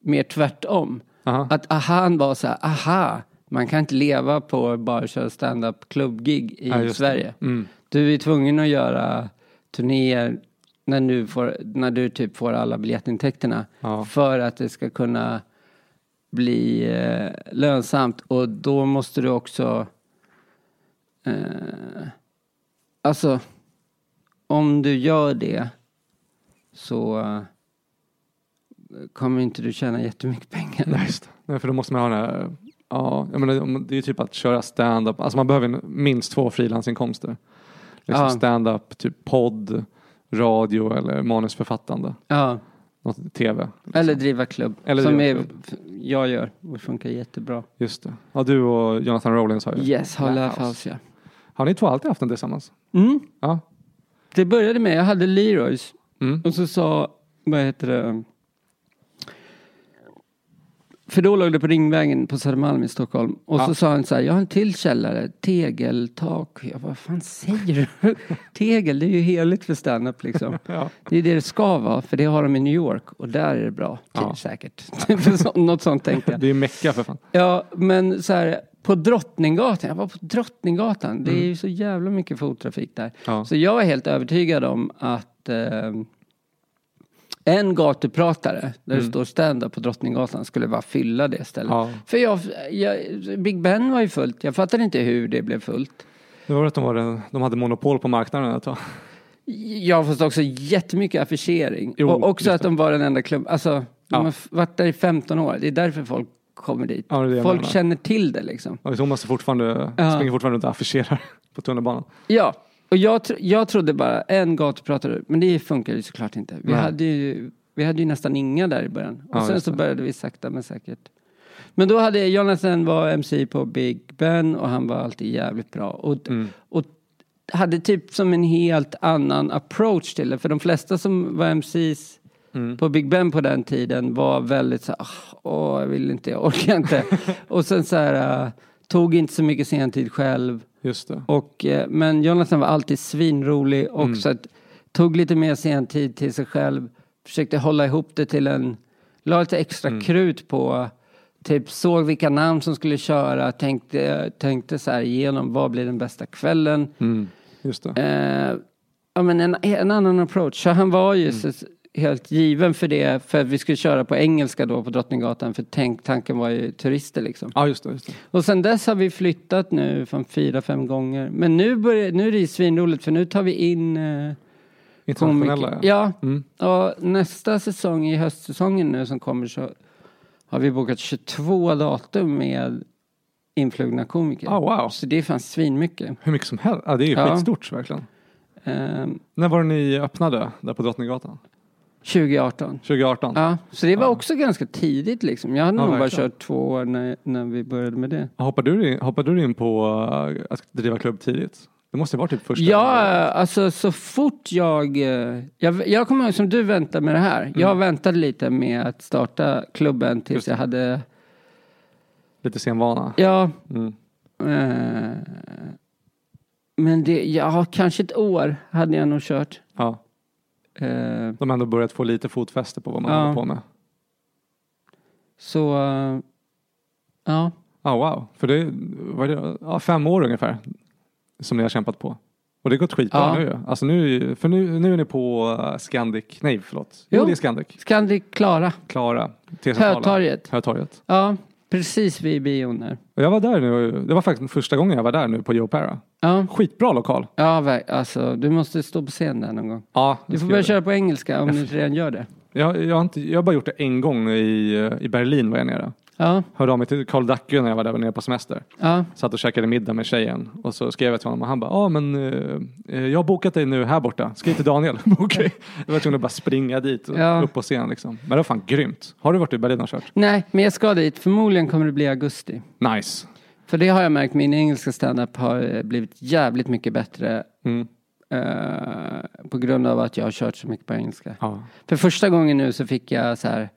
S2: mer tvärtom.
S1: Aha.
S2: Att ahan var så här, aha, man kan inte leva på bara att köra stand-up klubbgig i
S1: Ja, just det.
S2: Sverige.
S1: Mm.
S2: Du är tvungen att göra turnéer när du, får, när du typ får alla biljettintäkterna
S1: Ja.
S2: för att det ska kunna bli eh, lönsamt och då måste du också... Eh, alltså, om du gör det så eh, kommer inte du tjäna jättemycket pengar.
S1: Nej, just det. Nej, för då måste man ha den här, ja, jag menar, om- det är ju typ att köra stand-up. Alltså man behöver en- minst två frilansinkomster. Liksom
S2: Ja.
S1: stand-up, typ podd, radio eller manusförfattande.
S2: Ja,
S1: Något, tv.
S2: eller driva klubb,
S1: Liksom. Eller
S2: som
S1: driva
S2: är,
S1: klubb.
S2: jag gör och funkar jättebra.
S1: Just det. Ja, du och Jonathan Rowlands har ju.
S2: Yes, Hall
S1: Laugh
S2: Laugh
S1: House.
S2: House, ja.
S1: Har ni två alltid haft den tillsammans?
S2: Mm.
S1: Ja.
S2: Det började med, jag hade Leroys
S1: Mm.
S2: och så sa, vad heter det, för då låg det på Ringvägen på Södermalm i Stockholm. Och
S1: Ja.
S2: så sa han så här, jag har en till källare, tegeltak. Jag bara, vad fan säger du? Tegel, det är ju heligt för standup liksom.
S1: Ja.
S2: Det är det det ska vara, för det har de i New York och där är det bra, ty-
S1: Ja.
S2: säkert. För så- Något sånt tänkte jag.
S1: Det är ju mecka för fan.
S2: Ja, men så här, på Drottninggatan, jag var på Drottninggatan,
S1: Mm.
S2: det är ju så jävla mycket fottrafik där.
S1: Ja.
S2: Så jag är helt övertygad om att eh, en gatupratare där det står stand-up på Drottninggatan skulle bara fylla det stället.
S1: Mm. Ja.
S2: För jag, jag, Big Ben var ju fullt, jag fattade inte hur det blev fullt.
S1: Det var väl att de, var, den- de hade monopol på marknaden ett tag.
S2: Jag har fått också jättemycket affischering.
S1: Jo,
S2: och
S1: just
S2: också att
S1: det.
S2: de var den enda klubben, alltså de
S1: Ja.
S2: har f- varit där i 15 år, det är därför folk kommer dit.
S1: Ja, det är det jag
S2: folk
S1: menar.
S2: känner till det liksom.
S1: Ja, Thomas är fortfarande,
S2: Ja.
S1: springer fortfarande runt och affischerar på tunnelbanan.
S2: Ja, och jag, tro, jag trodde bara en gatupratare, men det funkar ju såklart inte. Vi,
S1: Nej.
S2: hade ju, vi hade ju nästan inga där i början. Och
S1: Ja,
S2: sen
S1: just
S2: så
S1: det.
S2: började vi sakta men säkert. Men då hade Jonathan var MC på Big Ben och han var alltid jävligt bra. Och,
S1: Mm.
S2: och hade typ som en helt annan approach till det. För de flesta som var MCs
S1: Mm.
S2: på Big Ben på den tiden var väldigt så här, "Ah, åh, jag vill inte, jag orkar inte. och sen så här, äh, tog inte så mycket sentid själv.
S1: Just det.
S2: Och, eh, men Jonathan var alltid svinrolig och så att, tog lite mer sen tid till sig själv. Försökte hålla ihop det till en... La lite extra krut på... Typ såg vilka namn som skulle köra, tänkte, tänkte så här igenom vad blir den bästa kvällen.
S1: Mm. Just det.
S2: Eh, ja, men en, en annan approach. Så han var ju så, helt given för det, för att vi skulle köra på engelska då på Drottninggatan, för tänk, tanken var ju turister liksom.
S1: Ja, just det. Just det.
S2: Och sen dess har vi flyttat nu från fyra, fem gånger. Men nu, börjar, nu är det ju svinroligt för nu tar vi in eh,
S1: Internationella,
S2: komiker.
S1: ja.
S2: Ja,
S1: Mm.
S2: och nästa säsong i höstsäsongen nu som kommer så har vi bokat 22 datum med influgna komiker.
S1: Ah, wow.
S2: Så det är fan svinmycket.
S1: Hur mycket som helst. Ja, det är ju
S2: Ja.
S1: skitstort verkligen.
S2: Ehm,
S1: När var det ni öppnade där på Drottninggatan?
S2: 2018.
S1: 2018?
S2: Ja, så det var
S1: Ja.
S2: också ganska tidigt liksom. Jag hade
S1: Ja,
S2: nog bara
S1: verkligen.
S2: kört två år när, när vi började med det.
S1: Hoppade du in, hoppade du in på eh, att driva klubb tidigt? Det måste ju vara typ första...
S2: Ja, alltså så fort jag, eh, jag... Jag kommer ihåg som du väntade med det här. Jag väntade lite med att starta klubben tills
S1: Mm. Just det.
S2: jag hade...
S1: Lite senvana.
S2: Ja,
S1: Mm.
S2: eh, men det... Ja, kanske ett år hade jag nog kört.
S1: Ja.
S2: Eh,
S1: De har ändå börjat få lite fotfäste på vad man
S2: Ja.
S1: håller på med.
S2: så... eh, Ja,
S1: Ja, Ah, wow. För det var det, ja, fem år ungefär som ni har kämpat på. Och det har gått skitbra
S2: Ja.
S1: nu ju. Alltså nu, för nu, nu är ni på eh, Scandic, nej förlåt. Jo,
S2: Jo.
S1: det är Scandic.
S2: Scandic Klara,
S1: Klara, T-centralen.
S2: Hötorget.
S1: Hötorget.
S2: Ja, precis vid bion där.
S1: Och jag var där nu, det var faktiskt första gången jag var där nu på Joe Para.
S2: Ja,
S1: Skitbra lokal.
S2: ja ver- alltså du måste stå på scen där någon gång.
S1: Ja,
S2: Du
S1: jag
S2: får
S1: ska
S2: börja
S1: göra
S2: köra på engelska om du inte redan gör det.
S1: det. jag, jag, har inte, jag har bara gjort det en gång i, eh, i Berlin var jag nere.
S2: Ja,
S1: Hörde av mig till Carl Dacke när jag var där nere på semester.
S2: ja,
S1: Satt och käkade middag med tjejen och så skrev jag till honom och han bara, ja ah, men eh, eh, jag har bokat dig nu här borta, skriv till Daniel. Okej. Jag var tvungen att bara springa dit och
S2: Ja.
S1: upp på scen liksom. Men det var fan grymt. Har du varit i Berlin och kört?
S2: Nej, men jag ska dit. Förmodligen kommer det bli augusti.
S1: Nice.
S2: För det har jag märkt, min engelska standup har eh, blivit jävligt mycket bättre
S1: Mm.
S2: eh, på grund av att jag har kört så mycket på engelska.
S1: Ja.
S2: För första gången nu så fick jag så här,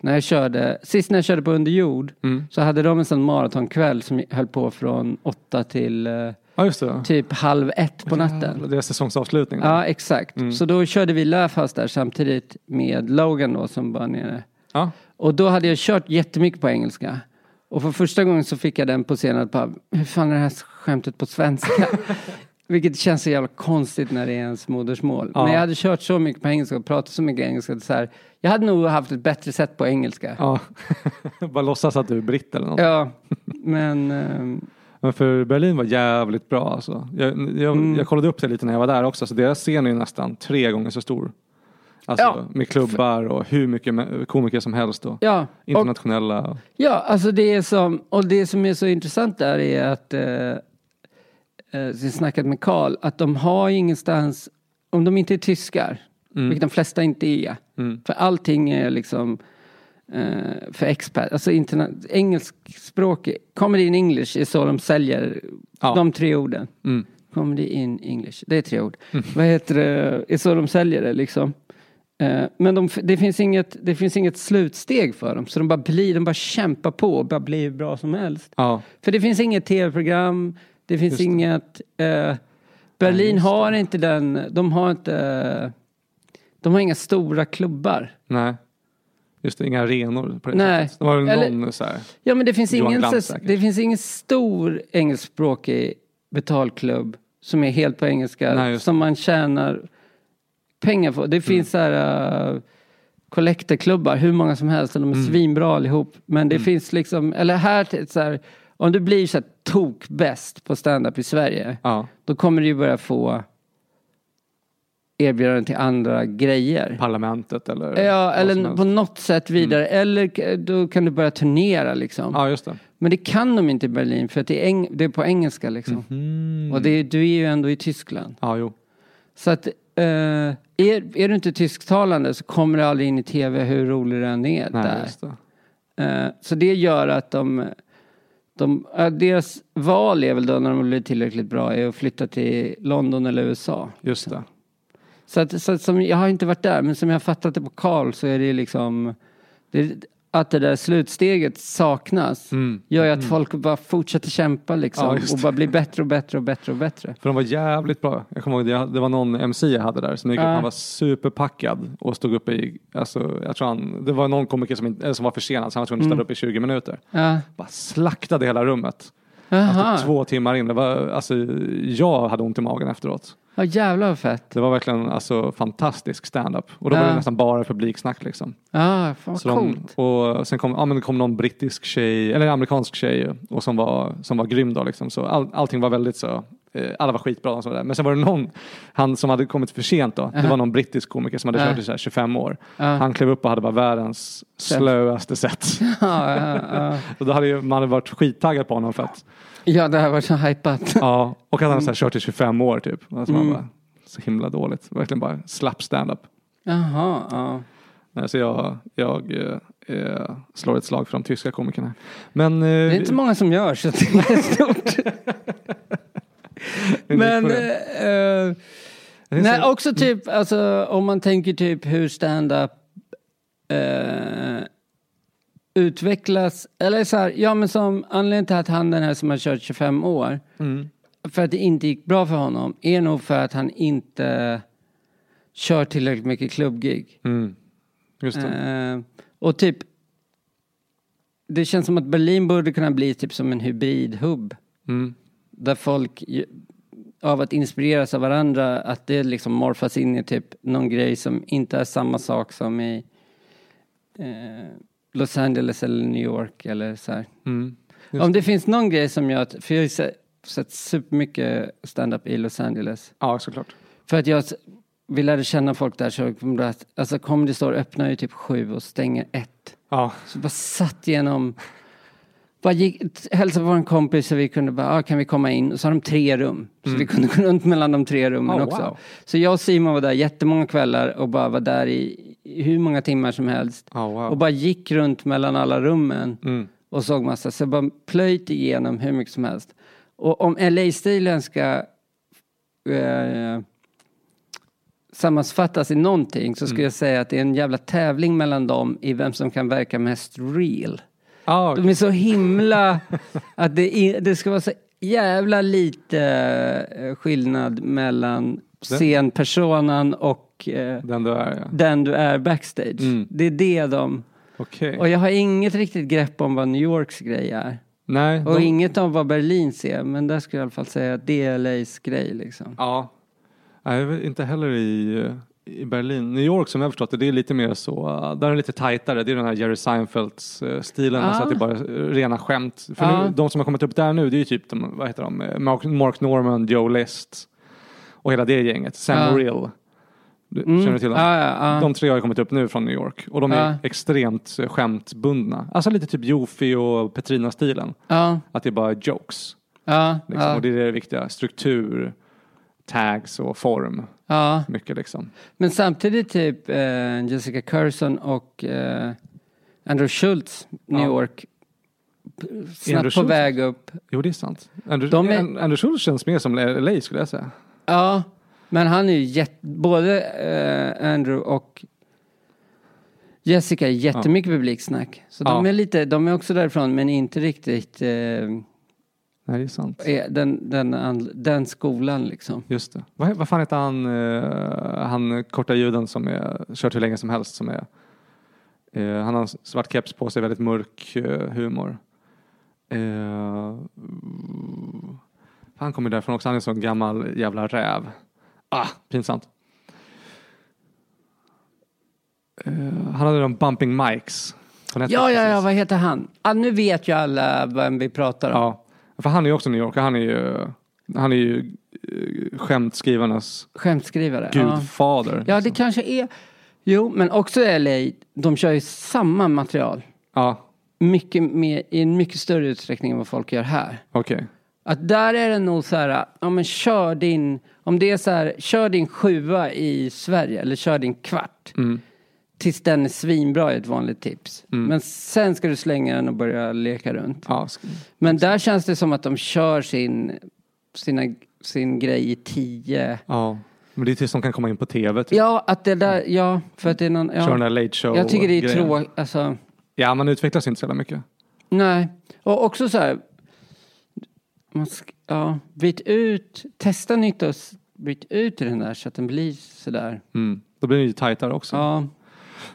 S2: när jag körde, sist när jag körde på Underjord
S1: Mm.
S2: så hade de en sån maratonkväll som höll på från åtta till eh,
S1: ja, just det.
S2: typ halv ett på natten.
S1: Det är säsongsavslutning.
S2: Ja, exakt.
S1: Mm.
S2: Så då körde vi Laughhouse där samtidigt med Logan då som var nere.
S1: Ja.
S2: Och då hade jag kört jättemycket på engelska. Och för första gången så fick jag den på scenen att bara, hur fan är det här skämtet på svenska? Vilket känns så jävla konstigt när det är ens modersmål.
S1: Ja.
S2: Men jag hade kört så mycket på engelska och pratat så mycket engelska. att Så här, jag hade nog haft ett bättre sätt på engelska.
S1: ja. bara låtsas att du är britt eller något.
S2: Ja, men... ehm,
S1: Men för Berlin var jävligt bra alltså. Jag, jag,
S2: Mm.
S1: jag kollade upp det lite när jag var där också, så deras scen är ju nästan tre gånger så stor. Alltså
S2: Ja.
S1: med klubbar och hur mycket me- komiker som helst och
S2: ja, och,
S1: internationella.
S2: ja, alltså det är som... Och det som är så intressant där är att... Eh, eh, jag snackat med Karl, att de har ju ingenstans... Om de inte är tyskar, vilket de flesta inte är.
S1: Mm.
S2: För allting är liksom eh, för expert, alltså interna- engelskspråkig. Comedy in English är så de säljer
S1: Ja.
S2: de tre orden.
S1: Mm.
S2: Comedy in English, det är tre ord. Vad heter det, är så de säljer det liksom. Eh, men de, f- det, finns inget, det finns inget slutsteg för dem, så de bara, blir, de bara kämpar på och bara blir hur bra som helst.
S1: Ja.
S2: För det finns inget tv-program, det finns
S1: Just det.
S2: inget... Eh, Berlin
S1: Ja, just
S2: har inte den, de har inte... De har inga stora klubbar.
S1: Nej. Just det, inga arenor på det
S2: Nej.
S1: sättet. Det var väl
S2: Eller-
S1: någon så här.
S2: Ja, men det finns,
S1: Johan
S2: ingen,
S1: Glans
S2: så-
S1: säkert.
S2: det finns ingen stor engelskspråkig betalklubb som är helt på
S1: Nej,
S2: engelska,
S1: just det. Mm.
S2: som man tjänar pengar på. Det finns så här uh, kollektorklubbar, hur många som helst, och
S1: Mm.
S2: de är svinbra allihop. Men det finns liksom, eller här, till- så här, om du blir så här tokbäst på stand-up i Sverige,
S1: Ja,
S2: då kommer du ju börja få erbjudanden till andra grejer.
S1: parlamentet eller
S2: Ja,
S1: vad som
S2: eller
S1: helst. Mm.
S2: på något sätt vidare. Eller k- då kan du börja turnera liksom.
S1: Ja, just det.
S2: Men det kan de inte i Berlin för att det är, eng- det är på engelska liksom.
S1: Mhm.
S2: Och det är, du är ju ändå i Tyskland.
S1: Ja, jo.
S2: Så att eh, är, är du inte tysktalande så kommer du aldrig in i tv hur rolig du än är
S1: Nej,
S2: där.
S1: just det.
S2: Eh, så det gör att de, de eh, deras val är väl då när de blir tillräckligt bra är att flytta till London eller USA.
S1: Just det.
S2: Så, att, så att som, jag har inte varit där, men som jag har fattat det på Karl så är det liksom det, att det där slutsteget saknas
S1: Mm.
S2: gör ju att folk bara fortsätter kämpa liksom
S1: Ja, just
S2: och
S1: det.
S2: bara blir bättre och bättre och bättre och bättre.
S1: För de var jävligt bra. Jag kommer ihåg, det, jag- det var någon MC jag hade där som gick upp.
S2: Ja.
S1: Han var superpackad och stod uppe i, alltså, jag tror han, det var någon komiker som, inte- eller som var försenad så han var tvungen att
S2: Mm.
S1: ställa upp i 20 minuter.
S2: Ja.
S1: Bara slaktade hela rummet.
S2: Aha.
S1: Alltså, två timmar in, det var, alltså, jag hade ont i magen efteråt.
S2: Ja jävlar vad fett.
S1: Det var verkligen alltså fantastisk stand-up. Och då var
S2: Ja.
S1: det nästan bara publiksnack liksom.
S2: Ja, fan vad
S1: Så de,
S2: coolt.
S1: och sen kom, ja, men det kom någon brittisk tjej, eller en amerikansk tjej och som var, som var grym då liksom. Så all, allting var väldigt så, eh, alla var skitbra och sådär. Men sen var det någon, han som hade kommit för sent då, det var någon brittisk komiker som hade
S2: Ja.
S1: kört i så här 25 år.
S2: Ja.
S1: Han klev upp och hade bara världens slöaste sätt.
S2: Ja, ja, ja.
S1: och då hade ju, man hade varit skittaggad på honom för att,
S2: ja, det här var så hajpat.
S1: ja, och att han hade så här kört i 25 år typ. Alltså
S2: Mm.
S1: man bara, så himla dåligt, verkligen bara slapp stand-up.
S2: Jaha, ja.
S1: Nej, Så jag, jag eh, eh, slår ett slag för de tyska komikerna. Men, eh,
S2: Det är inte så många som gör så det är stort. Men eh, eh, nej, också typ, alltså, om man tänker typ hur stand-up eh, utvecklas. Eller så här, ja men som anledningen till att han den här som har kört 25 år,
S1: Mm.
S2: för att det inte gick bra för honom, är nog för att han inte kör tillräckligt mycket klubbgig.
S1: Mm. Just det.
S2: Eh, och typ, det känns som att Berlin borde kunna bli typ som en hybridhubb.
S1: Mm.
S2: Där folk ju- av att inspireras av varandra, att det liksom morfas in i typ någon grej som inte är samma sak som i eh, Los Angeles eller New York eller så här.
S1: Mm.
S2: Om det finns någon grej som jag, för jag har ju se- sett supermycket stand-up i Los Angeles.
S1: Ja, såklart.
S2: För att jag s- vi lärde känna folk där så kom det att, alltså comedy store öppnar ju typ sju och stänger ett.
S1: Ja.
S2: Så bara satt igenom. Bara gick, hälsade på en kompis så vi kunde bara, ah, kan vi komma in? Och så har de tre rum. Så vi kunde gå runt mellan de tre rummen
S1: Mm. Oh,
S2: också.
S1: wow.
S2: Så jag och Simon var där jättemånga kvällar och bara var där i i hur många timmar som helst.
S1: Ja, wow.
S2: Och bara gick runt mellan alla rummen
S1: Mm.
S2: och såg massa. Så jag bara plöjt igenom hur mycket som helst. Och om LA-stilen ska eh, sammanfattas i någonting
S1: Mm.
S2: så skulle jag säga att det är en jävla tävling mellan dem i vem som kan verka mest real.
S1: Ja,
S2: De är så himla... att det, är, det ska vara så jävla lite eh, skillnad mellan scenpersonan och eh,
S1: den du är ja.
S2: den du är backstage.
S1: Mm.
S2: Det är det de...
S1: Okej.
S2: Och jag har inget riktigt grepp om vad New Yorks grej är.
S1: Nej.
S2: Och
S1: de-
S2: inget om vad Berlin ser, men där skulle jag i alla fall säga att det är LAs grej liksom.
S1: Ja. Nej, jag vet inte heller i, eh, i Berlin. New York som jag har förstått det, det är lite mer så, eh, där är det lite tajtare. Det är den här Jerry Seinfelds eh, stilen, alltså
S2: Ah.
S1: att det är bara eh, rena skämt. För
S2: Ah.
S1: nu, de som har kommit upp där nu, det är ju typ de, vad heter de, Eh, Mark, Mark Norman, Joe List och hela det gänget. Sam
S2: Ah.
S1: Rill. Du,
S2: Mm.
S1: Känner du till dem?
S2: Ja, ja, ja.
S1: De tre har ju kommit upp nu från New York och de är
S2: Ah.
S1: extremt eh, skämtbundna. Alltså lite typ Jofi och Petrina-stilen.
S2: ja,
S1: Att det är bara jokes.
S2: ja,
S1: Liksom.
S2: ja,
S1: Och det är det viktiga. Struktur, tags och form.
S2: ja.
S1: Mycket liksom.
S2: Men samtidigt typ eh, Jessica Curson och eh, Andrew Schultz, New
S1: Ja.
S2: York, p- snabbt på
S1: Schultz?
S2: väg upp.
S1: Jo, det är sant. Andrew,
S2: De är-
S1: An- Andrew Schultz känns mer som LA skulle jag säga.
S2: Ja, men han är ju jätte, både eh, Andrew och Jessica är jättemycket publiksnack. Så de
S1: Ja.
S2: är lite, de är också därifrån men inte riktigt eh,
S1: Nej, det är sant.
S2: är den, den, an- den skolan liksom.
S1: Just det. Vad, vad fan heter han, eh, han korta juden som är, kört hur länge som helst som är, eh, han har en svart keps på sig, väldigt mörk eh, humor. Eh, mm, han kommer därifrån också, han är en sån gammal jävla räv. Ah, pinsamt. Eh, han hade de Bumping Mikes. på Netflix
S2: Ja, ja, ja,
S1: precis.
S2: vad heter han? Ah, nu vet ju alla vem vi pratar om.
S1: Ja, för han är ju också New York. Han är ju, han är ju eh, skämtskrivarnas
S2: Skämtskrivare. Ja.
S1: gudfader.
S2: Ja, det kanske är... Jo, men också LA, de kör ju samma material.
S1: Ja,
S2: Mycket mer, I en mycket större utsträckning än vad folk gör här.
S1: okej.
S2: Att där är det nog så här, ja men kör din... Om det är så här, kör din sjua i Sverige eller kör din kvart.
S1: Mm.
S2: Tills den är svinbra är ett vanligt tips. Men sen ska du slänga den och börja leka runt.
S1: Ja, sk-
S2: Men där känns det som att de kör sin, sina, sin grej i tio...
S1: ja. Men det är tills de kan komma in på tv. Typ.
S2: Ja, att det där, ja, för att det är någon...
S1: Kör den
S2: Ja.
S1: där late show
S2: Jag tycker det är
S1: grejen.
S2: tråkigt, alltså...
S1: Ja, man utvecklas inte så jävla mycket.
S2: Nej, och också så här. Man sk- ja, byt ut, testa nytt och s- byt ut den där så att den blir så där.
S1: Mm. Då blir det ju tajtare också.
S2: Ja,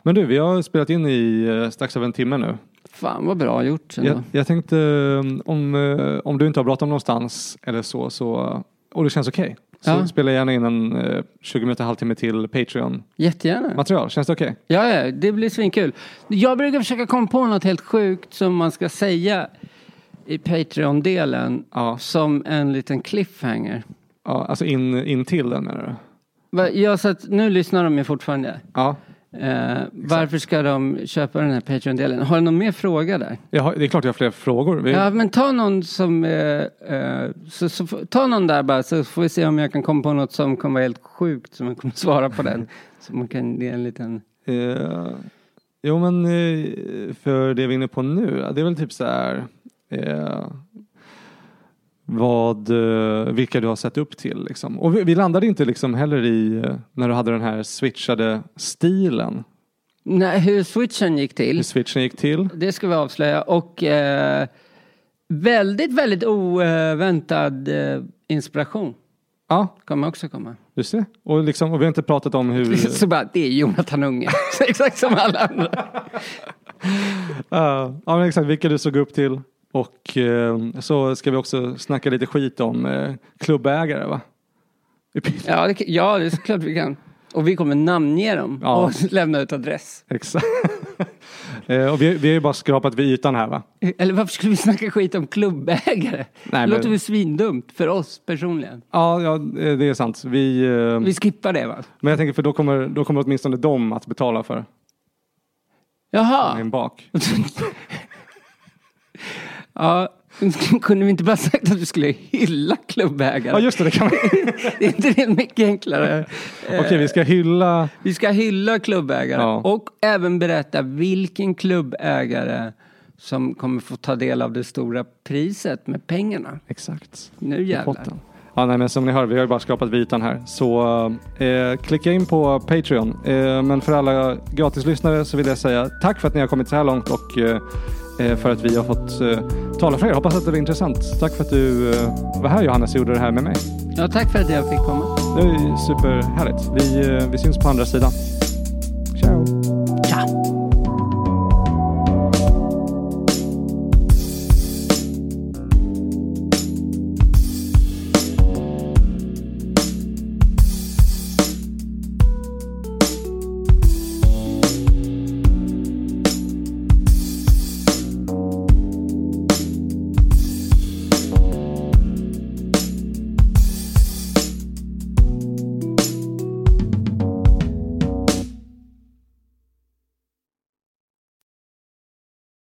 S1: Men du, vi har spelat in i eh, strax över en timme nu.
S2: fan vad bra gjort.
S1: Jag,
S2: ändå.
S1: jag tänkte eh, om, eh, om du inte har bråttom någonstans eller så, så eh, och det känns okej. Så
S2: Ja.
S1: spela gärna in en eh, 20 minuter, halvtimme till Patreon-material.
S2: Jättegärna.
S1: Känns det okej?
S2: Ja, ja, det blir svinkul. Jag brukar försöka komma på något helt sjukt som man ska säga i Patreon-delen.
S1: Ja.
S2: Som en liten cliffhanger.
S1: ja. Alltså in, in till den menar du?
S2: Va- Ja, så att nu lyssnar de ju fortfarande.
S1: Ja.
S2: Eh, varför ska de köpa den här Patreon-delen? Har du någon mer fråga där?
S1: Jag har, det är klart jag har fler frågor. Vi,
S2: Ja, men ta någon som... Eh, eh, så, så, f- ta någon där bara så får vi se om jag kan komma på något som kommer vara helt sjukt som jag kommer svara på den. Så man kan ge en liten...
S1: Eh, jo men eh, för det vi är inne på nu, det är väl typ så här. Eh, vad, eh, vilka du har sett upp till liksom. Och vi, vi landade inte liksom heller i eh, när du hade den här switchade stilen.
S2: Nej, hur switchen gick till.
S1: Hur switchen gick till.
S2: Det ska vi avslöja. Och eh, väldigt, väldigt oväntad eh, inspiration
S1: Ja,
S2: kommer också komma.
S1: du ser. Och, liksom, och vi har inte pratat om hur...
S2: Så bara, det är Jonathan Unge. Så Exakt som alla andra.
S1: Eh, ja, men exakt, vilka du såg upp till. Och eh, så ska vi också snacka lite skit om eh, klubbägare va?
S2: Ja, det, ja, det är såklart vi kan. Och vi kommer namnge dem
S1: Ja.
S2: och lämna ut adress.
S1: Exakt. Eh, och vi, vi har ju bara skrapat vid ytan här va?
S2: Eller varför skulle vi snacka skit om klubbägare?
S1: men-
S2: det låter väl svindumt för oss personligen.
S1: Ja, ja eh, det är sant. Vi, eh,
S2: Vi skippar det va?
S1: Men jag tänker för då kommer, då kommer åtminstone de att betala för
S2: Jaha.
S1: min bak.
S2: Ja, kunde vi inte bara sagt att vi skulle hylla klubbägare?
S1: Ja just det, det kan vi.
S2: Är inte det mycket enklare?
S1: Okej vi ska hylla.
S2: Vi ska hylla klubbägare
S1: Ja.
S2: och även berätta vilken klubbägare som kommer få ta del av det stora priset med pengarna.
S1: Exakt.
S2: Nu
S1: I
S2: jävlar.
S1: potten. Ja, nej, men som ni hör, vi har ju bara skapat vid ytan här. Så eh, klicka in på Patreon. Eh, men för alla gratislyssnare så vill jag säga tack för att ni har kommit så här långt och eh, eh, för att vi har fått eh, tala för er. Hoppas att det var intressant. Tack för att du eh, var här Johannes och gjorde det här med mig.
S2: Ja, tack för att jag fick komma.
S1: Det är ju superhärligt. Vi, eh, vi syns på andra sidan. Ciao!
S2: Ciao!